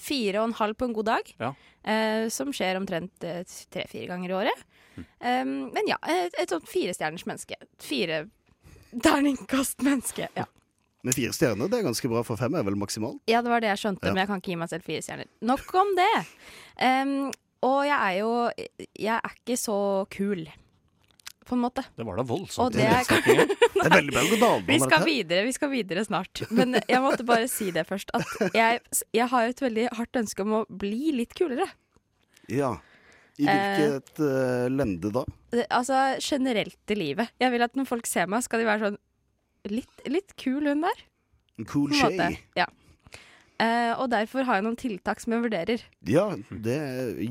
E: Fire og en halv på en god dag.
N: Ja.
E: eh, som skjer omtrent eh, tre-fire ganger i året.
F: Hm.
E: Eh, men ja, et, et sånt firestjerners menneske. Fire terningkast menneske. Ja.
F: Med fire stjerner, det er ganske bra, for fem er vel maksimalt?
E: Ja, det var det jeg skjønte,
F: Ja.
E: men jeg kan ikke gi meg selv fire stjerner. Nok om det. Em, og jeg er jo Jeg er ikke så kul, på en måte.
N: Det var da
E: Og
N: voldsomt.
E: det er-
F: Det er veldig bra å gå dalbane,
E: Vi skal
F: dette her.
E: videre, vi skal videre snart. Men jeg måtte bare si det først. At jeg, jeg har et veldig hardt ønske om å bli litt kulere.
F: Ja. I
E: Eh.
F: hvilket eh, lende da?
E: Det- Altså generelt i livet. Jeg vil at når folk ser meg, skal de være sånn Litt, litt kul, hun der.
F: En cool
E: på en
F: shay.
E: måte. Ja. Eh, og derfor har jeg noen tiltak som jeg vurderer.
F: Ja, det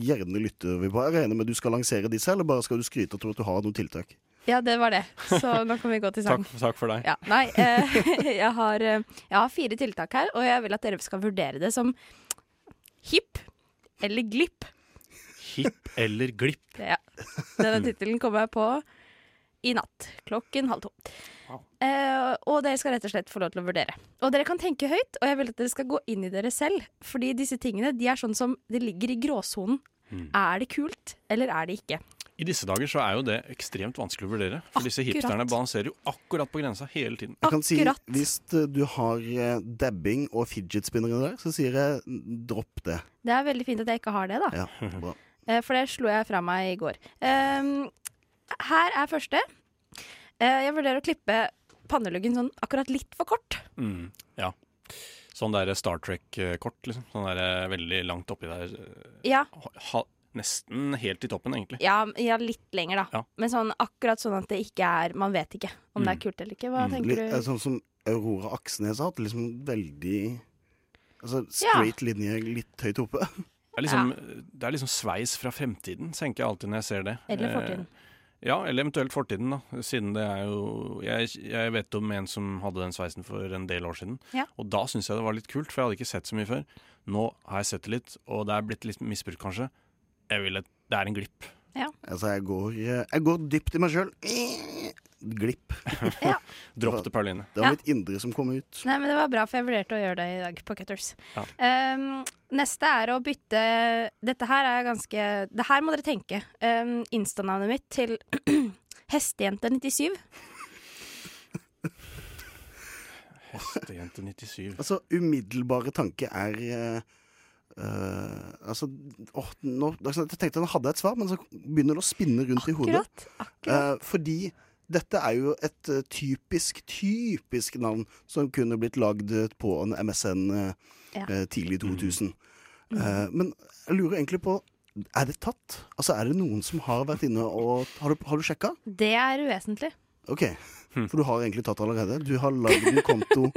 F: gjerne lytter vi på. Jeg regner med du skal lansere disse, eller bare skal du skryte og tro at du har noen tiltak?
E: Ja, det var det. Så nå kan vi gå til sang.
N: for deg.
E: Ja, nei, eh, jeg, har, eh, jeg har fire tiltak her, og jeg vil at dere skal vurdere det som hipp eller glipp.
N: Hipp eller glipp.
E: Ja. Denne tittelen kom jeg på i natt, klokken halv to. Eh, og dere skal rett og slett få lov til å vurdere. Og dere kan tenke høyt, og jeg vil at dere skal gå inn i dere selv. Fordi disse tingene de er sånn som det ligger i gråsonen.
N: Mm.
E: Er det kult, eller er det ikke?
N: I disse dager så er jo det ekstremt vanskelig å vurdere. For disse
E: Akkurat.
N: hipsterne balanserer jo akkurat på grensa hele tiden.
F: Jeg kan si, Hvis eh, du har eh, dabbing og fidget spinnere der, så sier jeg n- dropp det.
E: Det er veldig fint at jeg ikke har det, da.
F: Ja, bra.
E: Eh, For det slo jeg fra meg i går. Ehm, her er første. Eh, jeg vurderer å klippe panneluggen sånn akkurat litt for kort.
N: Mm, ja. Sånn der Star Trek-kort, liksom. Sånn der veldig langt oppi der. eh,
E: Ja.
N: Ha, nesten helt i toppen, egentlig.
E: Ja, ja litt lenger, da.
N: Ja.
E: Men sånn, akkurat sånn at det ikke er Man vet ikke om det er kult eller ikke.
N: Mm.
E: Hva tenker
F: Litt, eh,
E: du?
F: Sånn som Aurora Aksnes har hatt, liksom veldig Altså
E: Ja.
F: straight linje litt høyt oppe.
N: Det er liksom, det er liksom sveis fra fremtiden, tenker jeg alltid når jeg ser det.
E: Eller fortiden.
N: Eh, ja, eller eventuelt fortiden, da. Siden det er jo Jeg, jeg vet om en som hadde den sveisen for en del år siden.
E: Ja.
N: Og da syntes jeg det var litt kult, for jeg hadde ikke sett så mye før. Nå har jeg sett det litt, og det er blitt litt misbrukt, kanskje. Jeg vil at det er en glipp.
E: Ja.
F: Altså, jeg går, eh, jeg går dypt i meg sjøl. Glipp.
N: Dropp det, Pauline.
F: Det
E: Ja.
F: var mitt indre som kom ut.
E: Nei, men det var bra, for jeg vurderte å gjøre det i dag på Cutters.
F: Ja.
E: Ehm, neste er å bytte Dette her er ganske Det her må dere tenke. Um, Instanavnet mitt til Hestejente97.
N: Hestejente 97.
F: Altså, umiddelbare tanke er eh, eh, altså, åh, nå, altså, Jeg tenkte han hadde et svar, men så begynner det å spinne rundt i hodet. Eh, fordi dette er jo et eh, typisk, typisk navn som kunne blitt lagd på en MSN eh,
E: Ja.
F: eh, tidlig 2000. Eh, men jeg lurer egentlig på Er det tatt? Altså, er det noen som har vært inne og Har du, har du sjekka?
E: Det er uvesentlig.
F: OK. For du har egentlig tatt allerede. Du har lagd en konto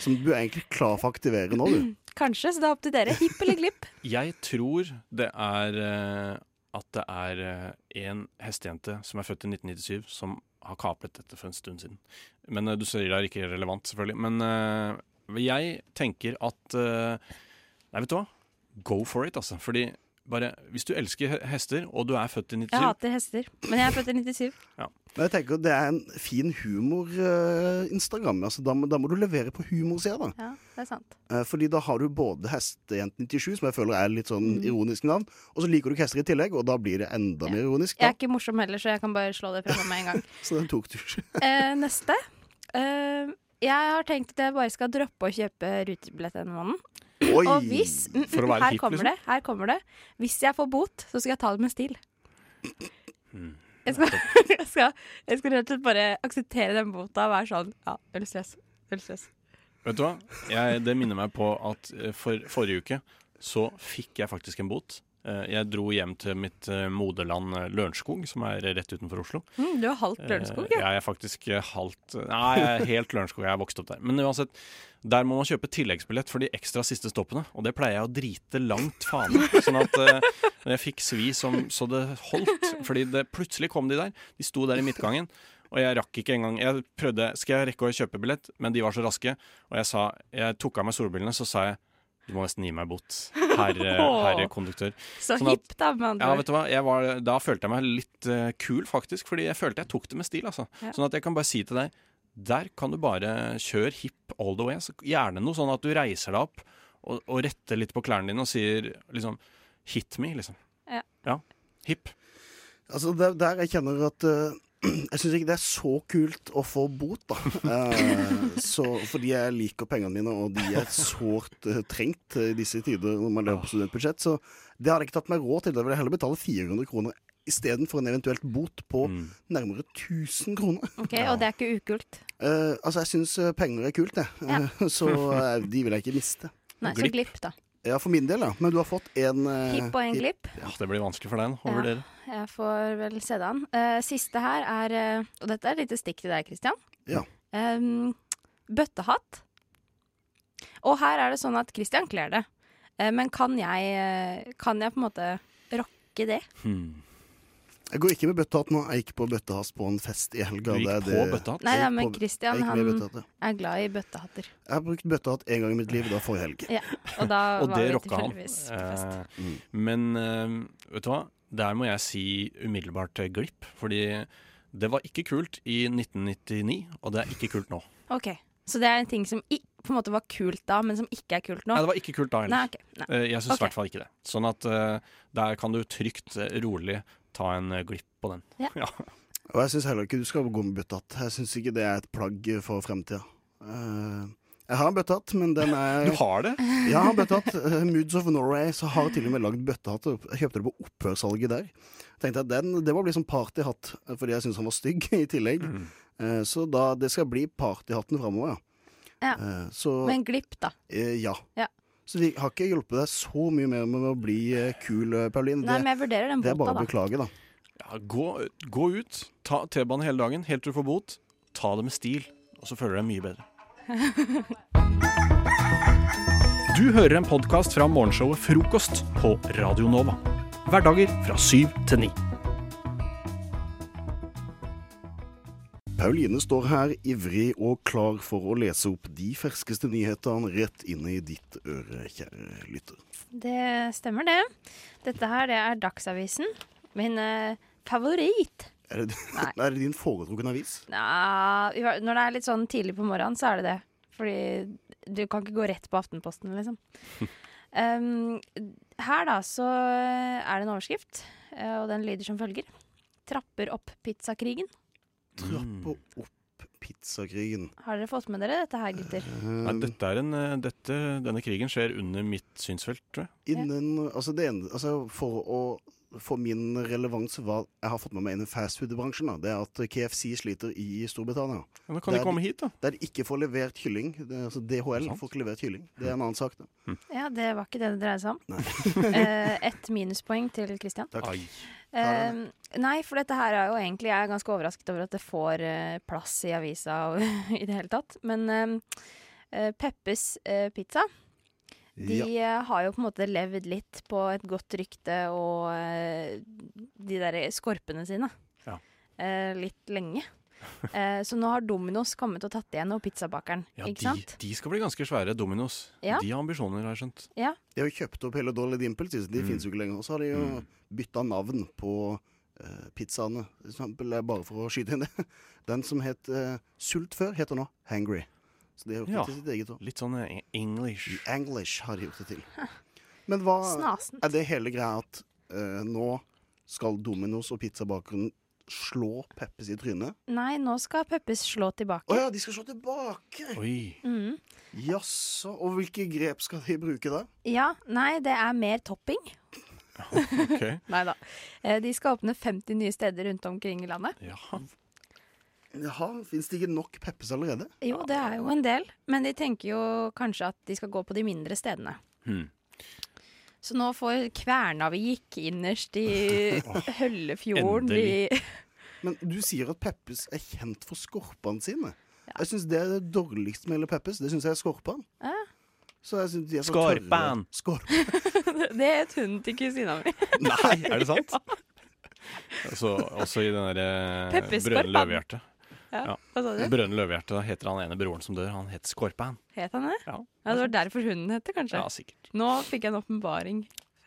F: som du er egentlig klar for å aktivere nå, du.
E: Kanskje, så det er opp til dere. Hipp eller glipp.
N: Jeg tror det er eh, at det er eh, en hestejente som er født i 1997, som har kapret dette for en stund siden. Men eh, du sier det er ikke relevant, selvfølgelig. Men eh, jeg tenker at eh, Nei, vet du hva? Go for it, altså. Fordi bare Hvis du elsker he- hester, og du er født i 97
E: Jeg hater hester, men jeg er født i 97.
F: Men jeg tenker Det er en fin humor-instagram. altså, da, må- da må du levere på humorsida, da.
E: Ja, det er sant.
F: Eh, Fordi da har du både Hestejent97, som jeg føler er litt sånn ironisk navn, og så liker du ikke hester i tillegg, og da blir det enda mer ironisk.
E: Jeg
F: Da.
E: er ikke morsom heller, så jeg kan bare slå det fra meg med en gang.
F: Så den tok du ikke.
E: Eh, neste. Eh, jeg har tenkt at jeg bare skal droppe å kjøpe rutebillett denne måneden.
F: Oi,
E: Og hvis mm, mm,
F: for å være
E: her,
F: hipp,
E: kommer
F: liksom.
E: det, her kommer det. Hvis jeg får bot, så skal jeg ta det med stil. Jeg skal, jeg skal, jeg skal rett og slett bare akseptere den bota og være sånn Ja, null stress. Null stress.
N: Vet du hva? Jeg, det minner meg på at eh, for, forrige uke så fikk jeg faktisk en bot. Eh, Jeg dro hjem til mitt eh, moderland eh, Lørenskog, som er rett utenfor Oslo.
E: Mm, du er halvt Lørenskog,
N: Eh, ja. Jeg er faktisk eh, halvt Nei, jeg er helt Lørenskog. Jeg er vokst opp der. Men uansett, der må man kjøpe tilleggsbillett for de ekstra siste stoppene. Og det pleier jeg å drite langt faen i. Sånn at eh, jeg fikk svi som så det holdt. Fordi det plutselig kom de der. De sto der i midtgangen. Og jeg rakk ikke engang. Jeg prøvde Skal jeg rekke å kjøpe billett? Men de var så raske. Og jeg sa Jeg tok av meg solbrillene, så sa jeg du må nesten gi meg bot, herr her, konduktør.
E: Så
N: Sånn at-
E: hipp, da, med andre
N: ja,
E: ord.
N: vet du hva? Jeg var, da følte jeg meg litt eh, kul, faktisk, fordi jeg følte jeg tok det med stil. Altså.
E: Ja.
N: Sånn at jeg kan bare si til deg der kan du bare kjøre hip all the way. Så gjerne noe sånn at du reiser deg opp og, og retter litt på klærne dine og sier liksom Hit me, liksom.
E: Ja.
N: Hip.
F: Altså, der, der jeg kjenner at eh, Jeg syns ikke det er så kult å få bot, da. Eh, så, fordi jeg liker pengene mine, og de er sårt eh, trengt eh, i disse tider når man lever på studentbudsjett. Så det hadde jeg ikke tatt meg råd til. Da ville jeg heller betale 400 kroner istedenfor en eventuelt bot på nærmere 1000 kroner.
E: Ok, Og det er ikke ukult.
F: Eh, altså, jeg syns penger er kult, jeg. Eh, så eh, de vil jeg ikke miste.
E: Nei, så glipp, da.
F: Ja, for min del, ja. Men du har fått en eh,
E: Hipp og en
F: hipp.
E: glipp.
N: Ja, det blir vanskelig for deg nå, å
E: Ja.
N: vurdere.
E: Jeg får vel se det an. Eh, siste her er eh, Og dette er et lite stikk til deg, Kristian.
F: Ja.
E: bøttehatt. Og her er det sånn at Kristian kler det. Eh, men kan jeg, eh, kan jeg på en måte rocke det?
F: Hmm. Jeg går ikke med bøttehatt nå. Jeg gikk på bøttehatt på en fest i
N: Du
F: helga.
N: gikk
F: Det er
N: på
F: det-
N: bøttehatt?
E: Nei,
F: Jeg
E: da,
F: gikk
E: men
F: på-
E: Kristian
F: jeg gikk med
E: han
F: bøttehatt, ja.
E: er glad i bøttehatter.
F: Jeg har brukt bøttehatt én gang i mitt liv, da forrige helg.
E: Ja, og da
N: Og
E: var
N: det
E: vi
N: rocka han.
E: tilfeldigvis på fest.
N: Eh, Men eh, vet du hva? Der må jeg si umiddelbart eh, glipp. Fordi Det var ikke kult i 1999, og det er ikke kult nå.
E: Ok, Så det er en ting som i, på en måte var kult da, men som ikke er kult nå?
N: Nei, det var ikke kult da heller.
E: Nei, ok, nei.
N: Eh, Jeg syns i
E: Ok.
N: hvert fall ikke det. Sånn at eh, der kan du trygt, eh, rolig ta en eh, glipp på den.
E: Ja.
F: Og jeg syns heller ikke du skal gå med butthatt. Jeg syns ikke det er et plagg for fremtida. Eh, jeg har en bøttehatt, men den er
N: Du har det?
F: Ja, jeg har bøttehatt. Eh, Moods of Norway så har til og med lagd bøttehatt. og Jeg kjøpte det på opphørssalget der. Tenkte at den, Det må bli sånn partyhatt, fordi jeg syns han var stygg i tillegg.
N: Mm.
F: Eh, så da, det skal bli partyhatten framover,
E: Ja.
F: Eh, så
E: Med en glipp, da.
F: eh, Ja.
E: Ja.
F: Så vi har ikke hjulpet deg så mye mer med å bli eh, kul, eh, Pauline.
E: Nei, men jeg vurderer den
F: det er
E: bota,
F: bare
E: da.
F: å beklage, da.
N: Ja, gå, gå ut, ta T-banen hele dagen, helt til du får bot. Ta det med stil, og så føler du deg mye bedre.
L: Du hører en podkast fra morgenshowet Frokost på Radio Nova. Hverdager fra syv til ni.
F: Pauline står her, ivrig og klar for å lese opp de ferskeste nyhetene rett inn i ditt øre, kjære lytter.
E: Det stemmer, det. Dette her det er Dagsavisen. Min eh, favoritt.
F: Er det, er det din foretrukne avis?
E: Nja, i hver- når det er litt sånn tidlig på morgenen, så er det det. Fordi du kan ikke gå rett på Aftenposten, liksom. Um, her, da, så er det en overskrift, eh, og den lyder som følger. Trapper opp pizzakrigen.
F: Trappe opp pizzakrigen.
E: Har dere fått med dere dette her, gutter?
N: Nei, dette er en, eh, dette, denne krigen skjer under mitt synsfelt, tror jeg.
F: Innen, altså det ene, altså for å for min relevans hva jeg har fått med meg innen fastfood-bransjen, da, det er at KFC sliter i Storbritannia.
N: Ja, men kan de
F: Der
N: komme hit, da?
F: Der de ikke får levert kylling. Det, altså DHL får ikke levert kylling. Det er
N: Hm.
F: en annen sak, det.
E: Ja, det var ikke det det dreide seg om. Eh, Ett minuspoeng til Kristian.
F: Takk. Ai.
E: Eh, nei, for dette her er jo egentlig Jeg er ganske overrasket over at det får eh, plass i avisa og, i det hele tatt. Men eh, eh, Peppes eh, Pizza de eh, har jo på en måte levd litt på et godt rykte og eh, de der skorpene sine
N: Ja.
E: eh, litt lenge. Eh, så nå har Dominos kommet og tatt igjen, og pizzabakeren.
N: Ja,
E: ikke
N: de,
E: sant?
N: de skal bli ganske svære, Dominos.
E: Ja.
N: De har ambisjoner, har jeg skjønt. Hm.
E: Ja.
F: De har jo kjøpt opp hele Dolly Dimples, de finnes jo ikke lenger. Og så har de jo bytta navn på eh, pizzaene, for eksempel, eh, bare for å skyte inn det. Den som het eh, Sult før, heter nå Hangry. Så de har gjort
N: Ja,
F: det til sitt eget òg.
N: Litt sånn eh, English.
F: English har de gjort det til. Men hva
E: Snasent.
F: er det hele greia at eh, nå skal Dominos og pizzabakeren slå Peppes i trynet?
E: Nei, nå skal Peppes slå tilbake.
F: Å ja, de skal slå tilbake!
E: Mm.
F: Jaså, og hvilke grep skal de bruke da?
E: Ja, nei, det er mer topping.
F: Ok.
E: nei da. Eh, De skal åpne 50 nye steder rundt omkring i landet.
N: Jaha.
F: Jaha, Fins det ikke nok Peppes allerede?
E: Jo, det er jo en del, men de tenker jo kanskje at de skal gå på de mindre stedene.
N: Hmm.
E: Så nå får Kvernavik innerst i Høllefjorden
F: endelig.
E: i
F: Men du sier at Peppes er kjent for skorpene sine. Jeg syns det er det dårligste med hele Peppes. Det syns jeg er skorpan.
E: Ja.
F: Så jeg synes de er så
N: Skorpan.
F: tørre. Skorp.
E: Det het hunden til kusina mi.
N: Nei, er det sant? Altså, også i den derre
E: Pepper
N: Brønne
E: Skorpan.
N: Løvehjerte.
E: Ja, hva sa du?
N: Brønne Løvehjerte, da heter han ene broren som dør. Han het Skorpan.
E: Het han det?
N: Ja.
E: det var derfor hunden het det, kanskje.
N: Ja, sikkert.
E: Nå fikk jeg en åpenbaring.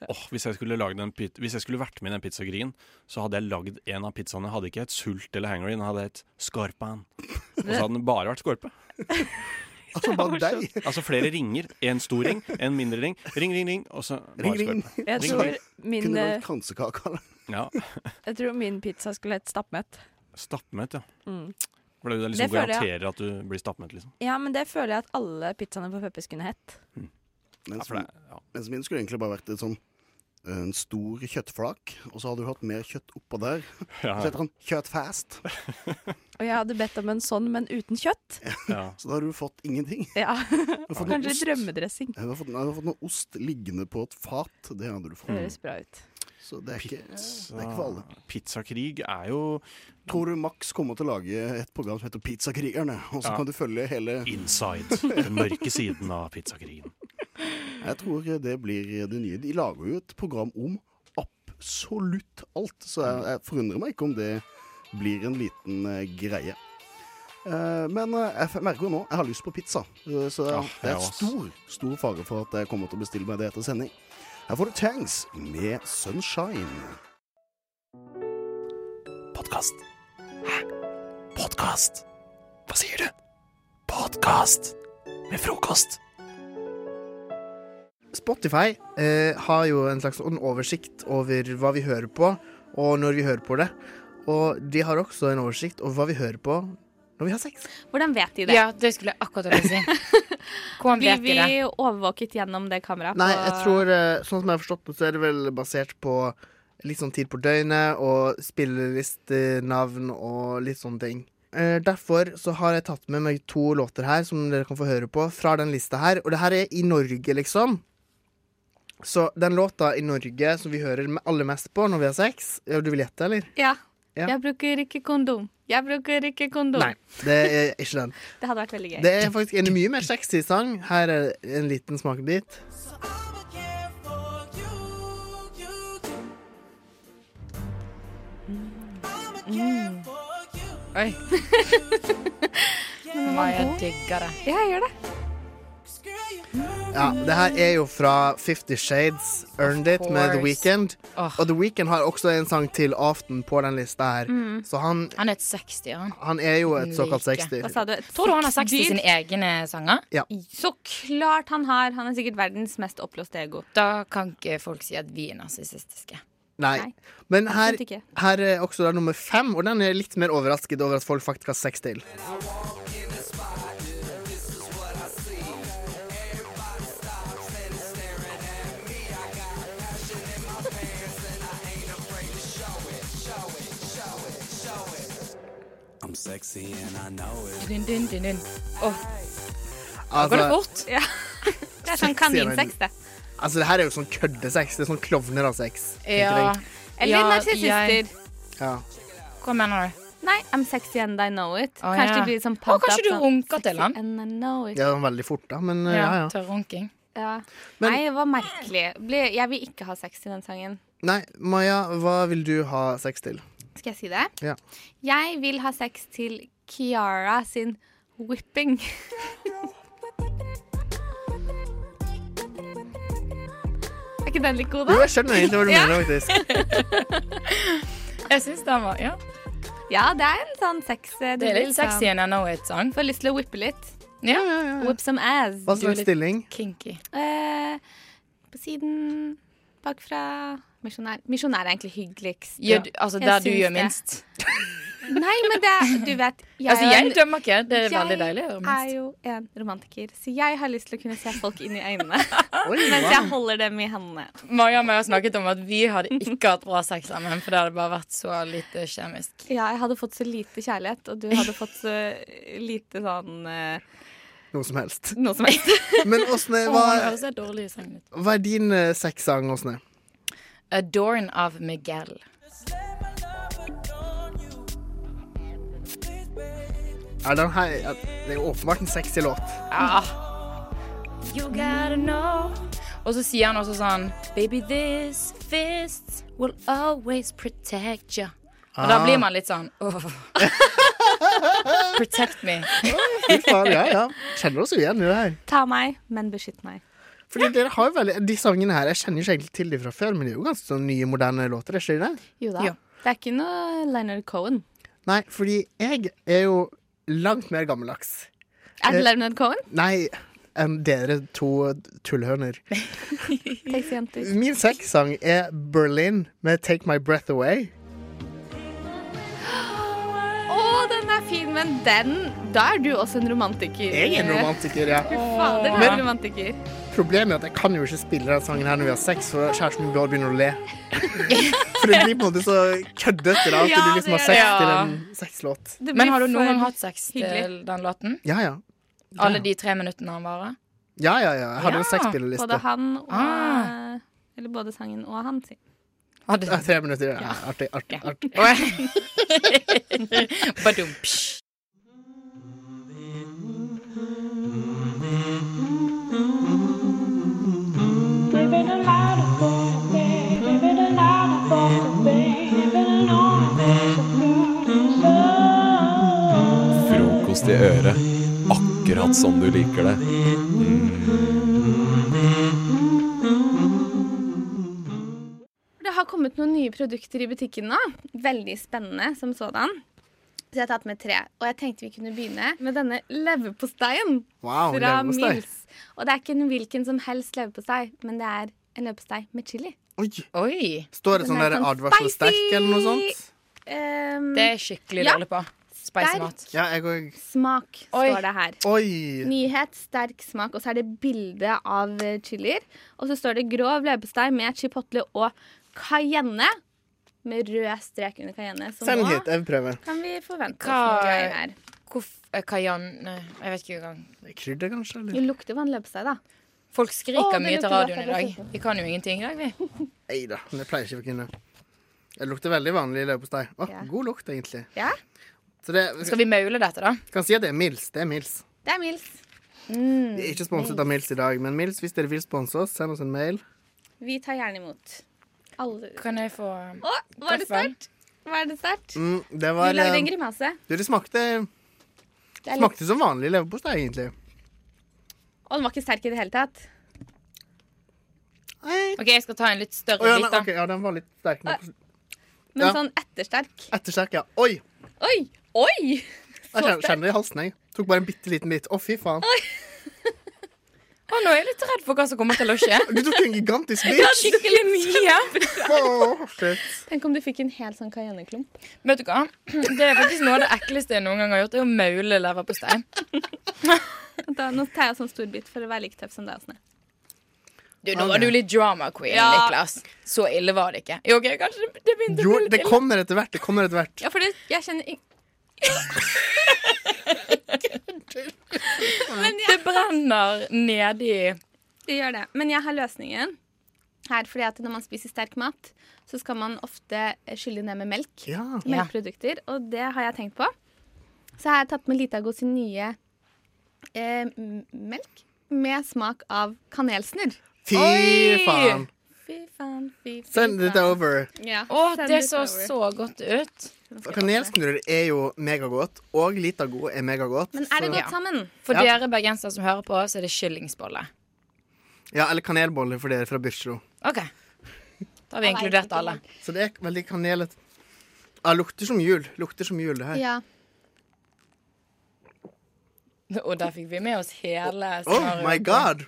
N: Åh, hvis, jeg skulle lagd en pit- hvis jeg skulle vært med i den pizzagrigen, så hadde jeg lagd en av pizzaene. Hadde ikke hett Sult eller Hangry, den hadde hett Skorpan. Og så hadde den bare vært skorpe.
F: Altså bare deg.
N: Altså flere ringer. En stor ring, en mindre ring. Ring, ring, ring, og så bare
F: Ring, ring.
N: skorpe.
E: Jeg
N: Ring,
E: tror
N: ring.
E: min, Kunne lagd eh,
F: kransekake
N: Ja.
E: Jeg tror min pizza skulle hett stappmett.
N: Stappmett, ja.
E: Mm.
N: For det, er jo det
E: Det
N: liksom
E: føler jeg-
N: garanterer at du blir stappmett, liksom.
E: Ja, men det føler jeg at alle pizzaene på Peppes kunne hett.
F: Mens, mens min skulle egentlig bare vært et sånn en stor kjøttflak, og så hadde du hatt mer kjøtt oppå der. Så heter han Kjøttfast.
E: Og jeg hadde bedt om en sånn, men uten kjøtt.
F: Så da har du fått ingenting.
E: Ja.
F: Du har fått noe
E: Kanskje
F: ost.
E: drømmedressing.
F: Du har fått, nei, du har fått noe ost liggende på et fat. Det hadde du fått.
E: Høres bra ut.
F: Så det er, ikke, det er ikke for alle.
N: Mm. Pizzakrig er jo
F: Tror du Max kommer til å lage et program som heter Pizzakrigerne? Og så
N: Ja.
F: kan du følge hele
N: Inside. Den mørke siden av pizzakrigen.
F: Jeg tror det blir det nye. De lager jo et program om absolutt alt, så jeg, jeg forundrer meg ikke om det blir en liten eh, greie. Eh, men eh, jeg f- merker jo nå jeg har lyst på pizza, Eh, så
N: Ja,
F: det
N: jeg
F: er
N: også.
F: stor, stor fare for at jeg kommer til å bestille meg det etter sending. Her får du Tangs med Sunshine.
A: Podkast. Podkast. Hva sier du? Podkast med frokost.
O: Spotify eh, har jo en slags en oversikt over hva vi hører på, og når vi hører på det. Og de har også en oversikt over hva vi hører på når vi har sex.
P: Hvordan vet de det?
Q: Ja, det skulle jeg akkurat til å si. Hvordan
P: Blir
Q: vet de
P: vi
Q: det?
P: overvåket gjennom det kameraet?
O: Nei,
P: på-
O: jeg tror, eh, sånn som jeg har forstått det, så er det vel basert på litt sånn tid på døgnet og spillelister, navn og litt sånne ting. Eh, Derfor så har jeg tatt med meg to låter her som dere kan få høre på fra den lista her. Og det her er i Norge, liksom. Så den låta i Norge som vi hører me- aller mest på når vi har sex ja, Du vil gjette, eller?
P: Ja.
O: Ja.
P: Jeg bruker ikke kondom. Jeg bruker ikke kondom.
O: Nei, det er ikke den.
P: Det hadde vært veldig gøy.
O: Det er faktisk en mye mer sexy sang. Her er en liten smakebit.
Q: Mm. Oi. Nei, jeg digger det.
P: Ja, jeg gjør det.
O: Ja, det her er jo fra Fifty Shades Earned It med
Q: course.
O: The Weeknd. Og The Weeknd har også en sang til Aften på den lista her.
Q: Mm.
O: Så han,
Q: Han er et 60, han.
O: han er jo et såkalt
Q: Like.
O: 60.
P: Hva sa du?
Q: Tror du han har 60
P: Dyr?
Q: sine egne sanger?
O: Ja.
P: Så klart han har. Han er sikkert verdens mest oppblåste ego.
Q: Da kan ikke folk si at vi er narsissistiske.
O: Nei. Men her,
Q: Absolutt ikke.
O: her er også da nummer fem, og den er litt mer overrasket over at folk faktisk har sex til.
R: I'm sexy and I know it.
Q: Dun, dun, dun, dun. Åh.
O: Altså-
Q: Går det fort?
P: Ja. Det er sånn
O: Sexy er den-
P: kaninsex, det.
O: Altså, det her er jo sånn køddesex. Det er sånn klovner av sex. tenker jeg.
P: Eller
Q: Ja,
P: narsissister.
Q: jeg-
O: Ja.
Q: Hva mener du?
P: Nei, I'm sexy and I know it.
Q: Å,
P: kanskje
Q: ja.
P: de blir sånn
Q: Å,
P: pumped
Q: kanskje
P: up,
Q: du
P: sånn,
Q: runker
P: sexy
Q: til han?
P: And I know it.
O: Det var veldig fort, da, men uh, ja,
Q: Ja,
O: ja.
Q: tørrrunking.
P: Ja. Nei, det var merkelig. Ble, jeg vil ikke ha sex til den sangen.
O: Nei, Maja, hva vil du ha sex til?
P: Skal jeg si det?
O: Ja.
P: Jeg vil ha sex til Kiara sin whipping. er ikke den litt god, da?
O: Jo, jeg skjønner egentlig hva du
P: Ja.
O: mener, faktisk.
Q: Jeg syns den var Ja.
P: Ja, det er en sånn sex eh, du
Q: Det er
P: blir
Q: litt
P: sånn-
Q: sexy and I know it-sang.
P: Får lyst til å whippe litt.
Q: Ja, ja, ja.
P: Whip some ass.
O: Hva slags stilling?
Q: Kinky.
P: Eh, på siden bakfra Misjonær. Misjonær er egentlig hyggeligst.
Q: Gjør du- altså, der du
P: syns
Q: gjør
P: det.
Q: minst.
P: Nei, men det er Du vet
Q: Altså,
P: er jo
Q: jeg dømmer ikke. Det er veldig deilig å gjøre minst.
P: Jeg er jo en romantiker, så jeg har lyst til å kunne se folk inn i øynene mens
Q: wow.
P: jeg holder dem i hendene.
Q: Maja og jeg har snakket om at vi hadde ikke hatt bra sex sammen, for det hadde bare vært så lite kjemisk.
P: Ja, jeg hadde fått så lite kjærlighet, og du hadde fått så lite sånn eh,
O: Noe som helst.
P: Noe som helst.
O: Men
Q: Åh,
O: Åsne,
Q: det
O: hva,
Q: høres helt dårlig i sangen ut.
O: hva er din uh, sexsang, Åsne?
Q: Adorn av Miguel.
O: Er den her, ja, det er jo åpenbart en sexy låt. Ah.
Q: Ja.
P: Ah.
Q: You gotta know. Og så sier han også sånn Baby, this fist will always protect you. Og da
O: Ah.
Q: blir man litt sånn åh. Protect me.
O: Fy faen, ja, ja. Kjenner oss jo igjen i det her.
P: Ta meg, men beskytt meg.
O: Fordi dere har jo veldig, De sangene her, jeg kjenner jo ikke egentlig til de fra før, men de er jo ganske sånn nye, moderne låter. er ikke de det?
P: Jo da. Det er ikke noe Leonard Cohen.
O: Nei, fordi jeg er jo langt mer gammeldags.
P: Er det
O: Eh,
P: Leonard Cohen?
O: Nei, enn dere to tullhøner.
P: Takk, jenter.
O: Min sexsang er Berlin med Take My Breath Away.
P: Å, den er fin, men den Da er du også en romantiker.
O: Jeg er en romantiker, ja.
P: Fy fader, du er en
O: Men-
P: romantiker.
O: Problemet er at jeg kan jo ikke spille den sangen her når vi har sex, for kjæresten min begynner å le. For det blir på en måte så køddete da, at
Q: Ja,
O: du liksom
Q: det
O: har
Q: er
O: sex
Q: det.
O: til en sexlåt.
Q: Men har du noen gang hatt sex til
P: hyggelig.
Q: den låten?
O: Ja, ja.
Q: Alle de tre minuttene han varer?
O: Ja, ja, ja. Jeg hadde en sexspillerliste.
P: Både han og eh,
Q: Ah.
P: Eller både sangen og han sin.
O: Ja, tre minutter. Ja. Artig, artig, artig.
Q: Badum.
A: Frokost i øret, akkurat som du liker det.
P: Det har kommet noen nye produkter i butikken nå. Veldig spennende som sådan. Så jeg har tatt med tre. Og jeg tenkte vi kunne begynne med denne leverposteien
O: Wow,
P: fra
O: leverpostei.
P: Mills. Og det er ikke en hvilken som helst leverpostei, men det er en leverpostei med chili.
O: Oi.
Q: Oi.
O: Står det sånn der advarsel sterk eller noe sånt?
P: ehm,
Q: Det er skikkelig dårlig på. Spicy mat.
O: Ja, jeg òg.
P: Smak står det her.
O: Oi!
P: Nyhet, sterk smak, og så er det bilde av eh, chilier. Og så står det grov leverpostei med chipotle og cayenne. Med rød strek under cayenne. Så nå
O: Sannhet. Jeg vil prøve.
P: kan vi forvente oss noe greier
Q: Hva
P: her.
Q: Hvorf... eh, Kajan Nei, jeg vet ikke engang.
O: Krydder, kanskje?
P: Det lukter vann leverpostei, da.
Q: Folk
P: Å,
Q: skriker
P: det
Q: mye til
P: lukter
Q: radioen i
P: godt, jeg
Q: dag. Vi kan jo ingenting i dag, vi.
O: Nei da, men det pleier ikke å kunne. Det lukter veldig vanlig leverpostei. Å, God lukt, egentlig.
Q: Ja?
O: Så det,
Q: Skal vi maule dette, da?
O: Kan si at det er Mills. Det er Mills.
P: Det er Mills. Mm.
O: Vi er ikke sponset av Mills i dag, men Mills, hvis dere vil sponse oss, send oss en mail.
P: Vi tar gjerne imot. Alle.
Q: Kan jeg få
P: Å, var det
Q: Gaffel.
P: sterkt? Var det sterkt?
O: Mm, det
P: Du
O: var
P: lagde en
O: eh,
P: grimase.
O: Du, det smakte,
P: Det er litt-
O: smakte som vanlig leverpostei, egentlig.
P: Og den var ikke sterk i det hele tatt.
Q: OK, jeg skal ta en litt større
O: Å, ja,
Q: bit,
O: nei,
Q: da.
O: ok, ja, den var litt sterk. nå.
P: Men
O: Ja.
P: sånn ettersterk.
O: Ettersterk, ja. Oi!
P: Oi! Oi!
O: Jeg kjenner, kjenner det i halsen, jeg. Tok bare en bitte liten bit. Å, fy faen.
Q: Å, nå er jeg litt redd for hva som kommer til å skje.
O: Du tok en gigantisk bit.
Q: Ja, skikkelig mye.
O: Å, shit.
P: Tenk om du fikk en hel sånn cayenneklump.
Q: Vet du hva? Det er faktisk noe av det ekleste jeg noen gang har gjort. Det er å maule leverpostei.
P: Da, nå tar jeg sånn stor bit for å være like tøff som deg. Åsne.
Q: Du, nå var du litt drama queen,
P: Ja.
Q: Niklas. Så ille var det ikke. Jo, ok, kanskje det, det begynte å
O: Jo,
Q: bli litt
O: det
Q: ille.
O: kommer etter hvert. Det kommer etter hvert.
P: Ja, for det, jeg kjenner ing- Men jeg-
Q: Det brenner nedi
P: Det gjør det. Men jeg har løsningen her, fordi at når man spiser sterk mat, så skal man ofte skylle ned med melk. Melkprodukter. Og det har jeg tenkt på. Så har jeg tatt med Litago sin nye eh, m- melk med smak av kanelsnurr.
O: Fy
Q: Oi!
O: faen.
P: Fy faen, fy, fy
O: Send it
P: faen.
O: over.
P: Ja,
Q: Å,
P: send
Q: det
P: it
Q: så
P: over.
Q: så godt ut.
O: Kanelsnurr er jo megagodt, og Litago er megagodt.
P: Men er det
O: så-
P: godt sammen?
Q: For
O: Ja.
Q: dere bergensere som hører på, så er det kyllingsbolle.
O: Ja, eller kanelboller for dere fra Byrkjelo.
Q: OK. Da har vi inkludert alle.
O: Så det er veldig kanelete. Ja, lukter som jul. Lukter som jul, det her.
Q: Og der fikk vi med oss hele
O: Oh my god!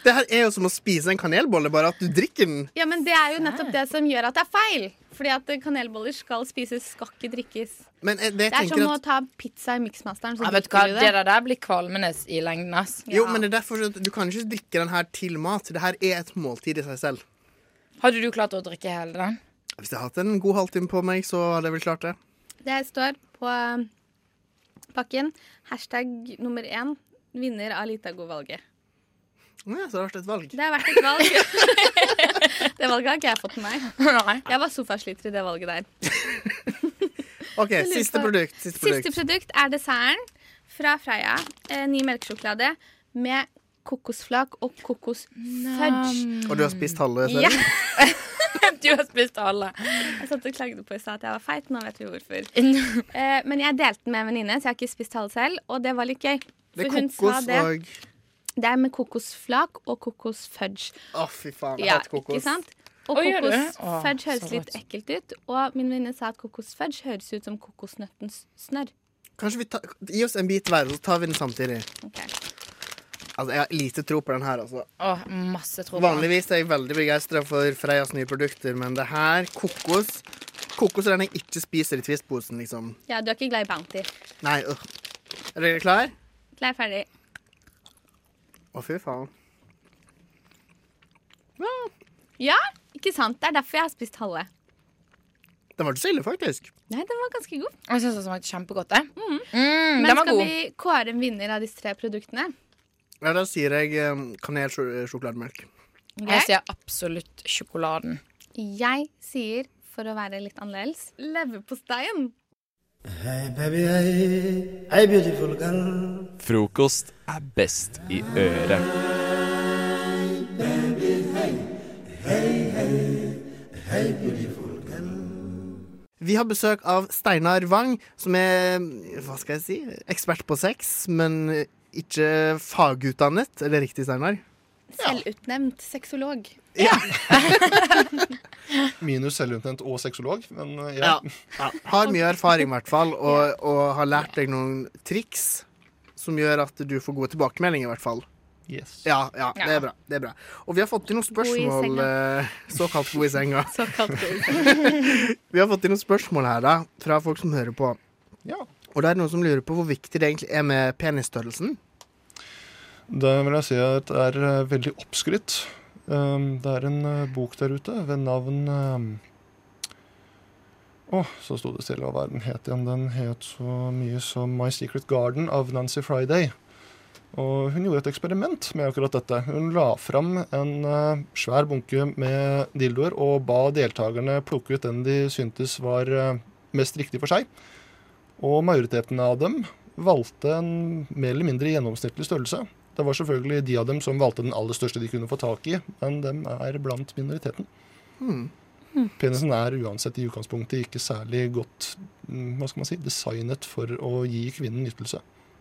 O: Det her er jo som å spise en kanelbolle, bare at du drikker den.
P: Ja, men det er jo nettopp det som gjør at det er feil. Fordi at kanelboller skal spises, skal ikke drikkes.
O: Men eh,
P: Det
O: det
P: er
O: tenker
P: som
O: jeg
P: å
O: at
P: ta pizza i Miksmasteren. så
Q: Ja, vet du hva?
P: drikker du
Q: Det der, der blir kvalmende i lengden, ass.
O: Jo, men det er derfor at du kan ikke drikke den her til mat. Det her er et måltid i seg selv.
Q: Hadde du klart å drikke hele den?
O: Hvis jeg hadde hatt en god halvtime på meg, så hadde jeg vel klart det.
P: Det står på eh, pakken hashtag nummer én vinner av Litago-valget.
O: Ja, så det har vært et valg.
P: Det har vært et valg. det valget har ikke jeg fått med meg. Jeg var sofasliter i det valget der.
O: OK,
P: Jeg lurer
O: siste
P: på-
O: produkt. Siste produkt.
P: Siste produkt er desserten fra Freia. Eh, ny melkesjokolade med kokosflak og kokosfudge.
O: Og du har spist halve selv?
P: Ja.
Q: du har spist alle.
P: Jeg satt og klagde på i stad at jeg var feit. Nå vet vi hvorfor. Eh, men jeg delte den med en venninne, så jeg har ikke spist halve selv. Og det var litt gøy.
O: Det er
P: For hun sa
O: kokos
P: det.
O: og
P: Det er med kokosflak og kokosfudge.
O: Å, fy faen. Jeg
P: Ja,
O: hater kokos.
P: ikke sant? Og
Q: Å, gjør du det? Å,
P: kokosfudge høres
Q: så
P: litt
Q: godt.
P: ekkelt ut. Og min venninne sa at kokosfudge høres ut som kokosnøttens snørr.
O: Kanskje vi ta, Gi oss en bit hver, så tar vi den samtidig. Altså, Jeg har lite tro på den her. altså
Q: Å, masse tro på den.
O: Vanligvis er jeg veldig begeistra for Freias nye produkter, men det her kokos Kokos er den jeg ikke spiser i Twist-posen, liksom.
P: Ja, du er ikke glad i Bounty.
O: Nei, øh. Er dere klar?
P: Klar, ferdig.
O: Å, fy faen.
P: Ja, ikke sant? Det er derfor jeg har spist halve.
O: Den var ikke så ille, faktisk.
P: Nei, den var ganske god.
Q: Jeg syns den smakte kjempegodt. jeg.
P: Mm.
Q: Mm,
P: Men
Q: den var
P: skal
Q: god.
P: vi kåre en vinner av disse tre produktene?
O: Ja, Da sier jeg um, kanelsjokolademelk.
Q: Jeg sier absolutt sjokoladen.
P: Jeg sier, for å være litt annerledes, leverposteien.
R: Hey baby, hey, hey beautiful girl.
A: Frokost er best i øret.
O: Vi har besøk av Steinar Wang, som er hva skal jeg si, ekspert på sex, men ikke fagutdannet. Er det riktig, Steinar?
P: Selvutnevnt sexolog.
S: Minus selvutnevnt og sexolog, men eh, ja.
O: Ja. Har mye erfaring, i hvert fall, og, og har lært deg noen triks som gjør at du får gode tilbakemeldinger, i hvert fall.
S: Yes.
O: Ja, ja, det
S: Ja.
O: er bra. Det er bra. Og vi har fått inn noen
S: God i
O: spørsmål
S: senga.
O: eh, Såkalt god i senga.
P: Såkalt god i
O: vi har fått inn noen spørsmål her da, fra folk som hører på. Og det er noen som lurer på hvor viktig det egentlig er med penisstørrelsen.
S: Det vil jeg si at er eh, veldig oppskrytt. Um, det er en eh, bok der ute ved navn um, Å, så sto det stille. Hva er den het igjen? Den het så mye som My Secret Garden av Nancy Friday. Og hun gjorde et eksperiment med akkurat dette. Hun la fram en eh, svær bunke med dildoer og ba deltakerne plukke ut den de syntes var eh, mest riktig for seg. Og majoriteten av dem valgte en mer eller mindre gjennomsnittlig størrelse. Det var selvfølgelig de av dem som valgte den aller største de kunne få tak i, men dem er blant minoriteten.
O: Hmm.
S: Penisen er uansett i utgangspunktet ikke særlig godt mm, hva skal man si, designet for å gi kvinnen nytelse.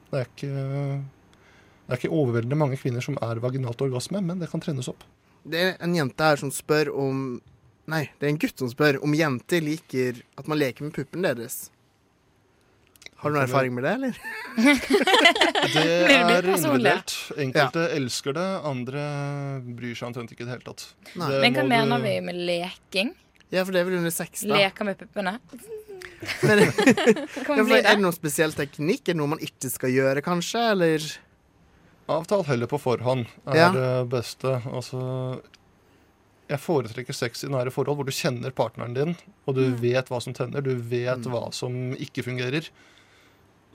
S: Det er ikke, det er ikke overveldende mange kvinner som er vaginalt orgasme, men det kan trenes opp.
O: Det er en jente her som spør om Nei, det er en gutt som spør om jenter liker at man leker med puppen deres. Har du noe erfaring med det, eller?
S: Det
O: Veldig
S: er
O: personlig.
S: individuelt. Enkelte elsker det, andre bryr seg omtrent ikke i det hele tatt. Det
Q: Men hva
S: må du-
Q: mener vi med leking?
O: Ja, for det er vel under sex, da.
Q: Leker med puppene?
O: Ja, for er det noen spesiell teknikk? Er det noe man ikke skal gjøre, kanskje? Eller
S: Avtal heller på forhånd er
O: Ja.
S: det beste. Altså, jeg foretrekker sex i nære forhold hvor du kjenner partneren din, og du
Q: Mm.
S: vet hva som tenner, du vet
O: Mm.
S: hva som ikke fungerer.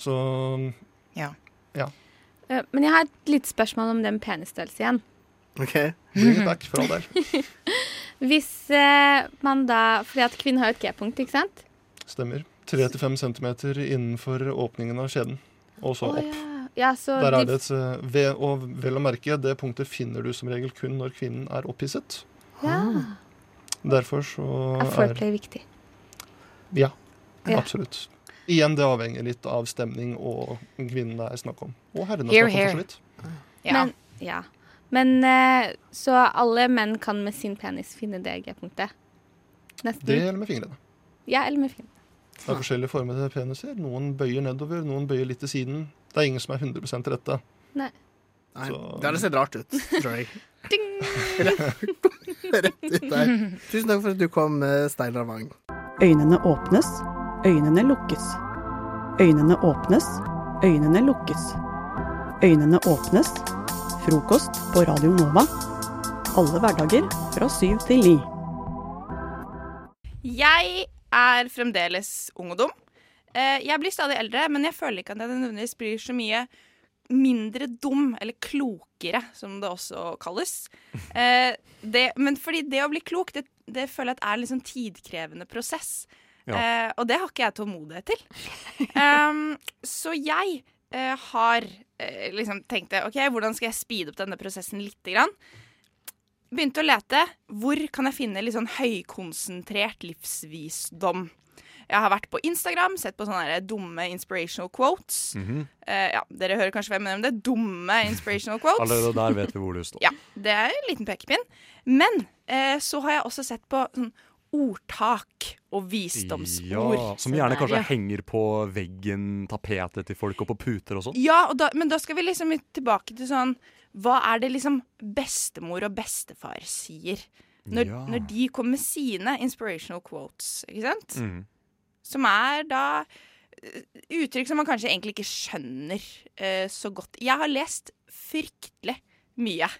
S: Så
Q: Ja.
S: ja.
P: Eh, Men jeg har et lite spørsmål om den penisstørrelse igjen.
O: OK.
S: Bring it back fra der.
P: Hvis eh, man da Fordi at kvinnen har jo et G-punkt, ikke sant?
S: Stemmer. 3-5 cm innenfor åpningen av skjeden, og så
P: Å,
S: opp.
P: Ja, så
S: Der er
P: de-
S: det et, eh, ve- og vel å merke, det punktet finner du som regel kun når kvinnen er opphisset.
P: ja.
S: Derfor så
P: Er foreplay viktig?
S: Ja,
P: Ja.
S: absolutt. Igjen, det avhenger litt av stemning og kvinnen det er snakk om. Og herren det
P: Hear,
S: er snakk om, for så
P: hear.
S: vidt.
P: Men, ja. Men eh, Så alle menn kan med sin penis finne det G-punktet? Nesten.
S: Det gjelder med fingrene.
P: Ja, eller med fingeren.
S: Det er forskjellige former til peniser. Noen bøyer nedover, noen bøyer litt til siden. Det er ingen som er 100 rette.
P: Nei.
O: Nei,
S: Så-
O: Det hadde sett rart ut, tror jeg. Rett ut der. Tusen takk for at du kom, eh, Steinar Wang.
T: Øynene åpnes, øynene lukkes. Øynene åpnes, øynene lukkes. Øynene åpnes. Frokost på Radio Nova. Alle hverdager fra syv til ni.
U: Jeg er fremdeles ung og dum. Eh, Jeg blir stadig eldre, men jeg føler ikke at jeg nødvendigvis blir så mye mindre dum, eller klokere, som det også kalles. Eh, Det, men fordi det å bli klok, det, det føler jeg at er en litt sånn tidkrevende prosess.
V: Ja.
U: Eh, og det har ikke jeg tålmodighet til. Ehm, så jeg eh, har eh, liksom tenkt det, OK, hvordan skal jeg speede opp denne prosessen lite grann? begynte å lete. Hvor kan jeg finne litt sånn høykonsentrert livsvisdom? Jeg har vært på Instagram, sett på sånne her dumme inspirational
W: Mm.
U: quotes.
I: Mhm.
U: Eh, ja, Dere hører kanskje hvem jeg nevner. Dumme inspirational quotes.
W: Allerede der vet vi hvor du står.
U: Ja, det er en liten pekepinn. Men eh, så har jeg også sett på sånn ordtak og visdomsord.
W: Ja, som gjerne kanskje
U: Ja.
W: henger på veggen, tapetet til folk og på puter og sånn.
U: Ja, og da, men da skal vi liksom litt tilbake til sånn Hva er det liksom bestemor og bestefar sier når,
W: Ja.
U: når de kommer med sine inspirational quotes, ikke sant?
W: Mhm.
U: Som er da eh, uttrykk som man kanskje egentlig ikke skjønner eh, så godt. Jeg har lest fryktelig mye.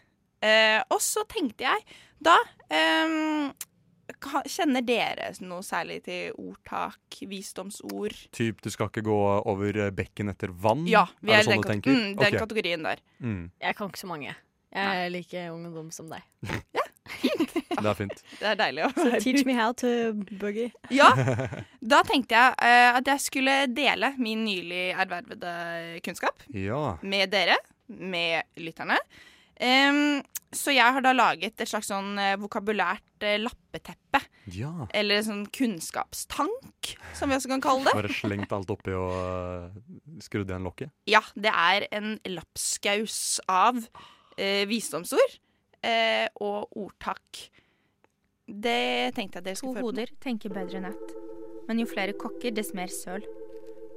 U: Eh, og så tenkte jeg da eh, ka- Kjenner dere noe særlig til ordtak, visdomsord?
W: Typ du skal ikke gå over eh, bekken etter vann?
U: Ja, vi
W: er
U: er,
W: det sånn
U: den,
W: du
U: kate-
W: tenker?
U: mm, den
W: Ok.
U: kategorien der.
W: Mm,
C: Jeg kan ikke så mange. Jeg er like ung og dum som deg.
W: det er fint.
U: Det er deilig å
C: Så teach me how to boogie.
U: Ja. Da tenkte jeg eh, at jeg skulle dele min nylig ervervede kunnskap
W: Ja.
U: med dere, med lytterne. Em, så jeg har da laget et slags sånn eh, vokabulært eh, lappeteppe.
W: ja.
U: Eller sånn kunnskapstank, som vi også kan kalle det.
W: Bare slengt alt oppi og eh, skrudd igjen lokket?
U: Ja, det er en lapskaus av eh, visdomsord. eh, og ordtak. Det tenkte jeg dere
D: To
U: skulle følge
D: hoder tenker bedre enn ett. Men jo flere kokker, dess mer søl.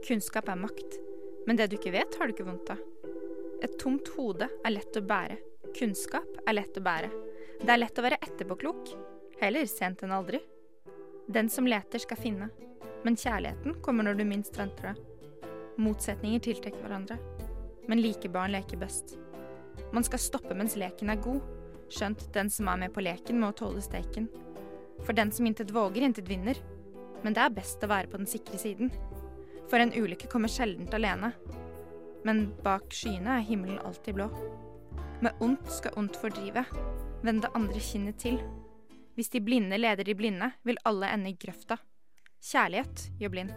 D: Kunnskap er makt. Men det du ikke vet, har du ikke vondt av. Et tomt hode er lett å bære. Kunnskap er lett å bære. Det er lett å være etterpåklok. Heller sent enn aldri. Den som leter, skal finne. Men kjærligheten kommer når du minst venter det. Motsetninger tiltrekker hverandre. Men like barn leker best. Man skal stoppe mens leken er god. Skjønt den som er med på leken, må tåle steken. For den som intet våger, intet vinner. Men det er best å være på den sikre siden. For en ulykke kommer sjeldent alene. Men bak skyene er himmelen alltid blå. Med ondt skal ondt fordrive. Vend det andre kinnet til. Hvis de blinde leder de blinde, vil alle ende i grøfta. Kjærlighet gjør blind.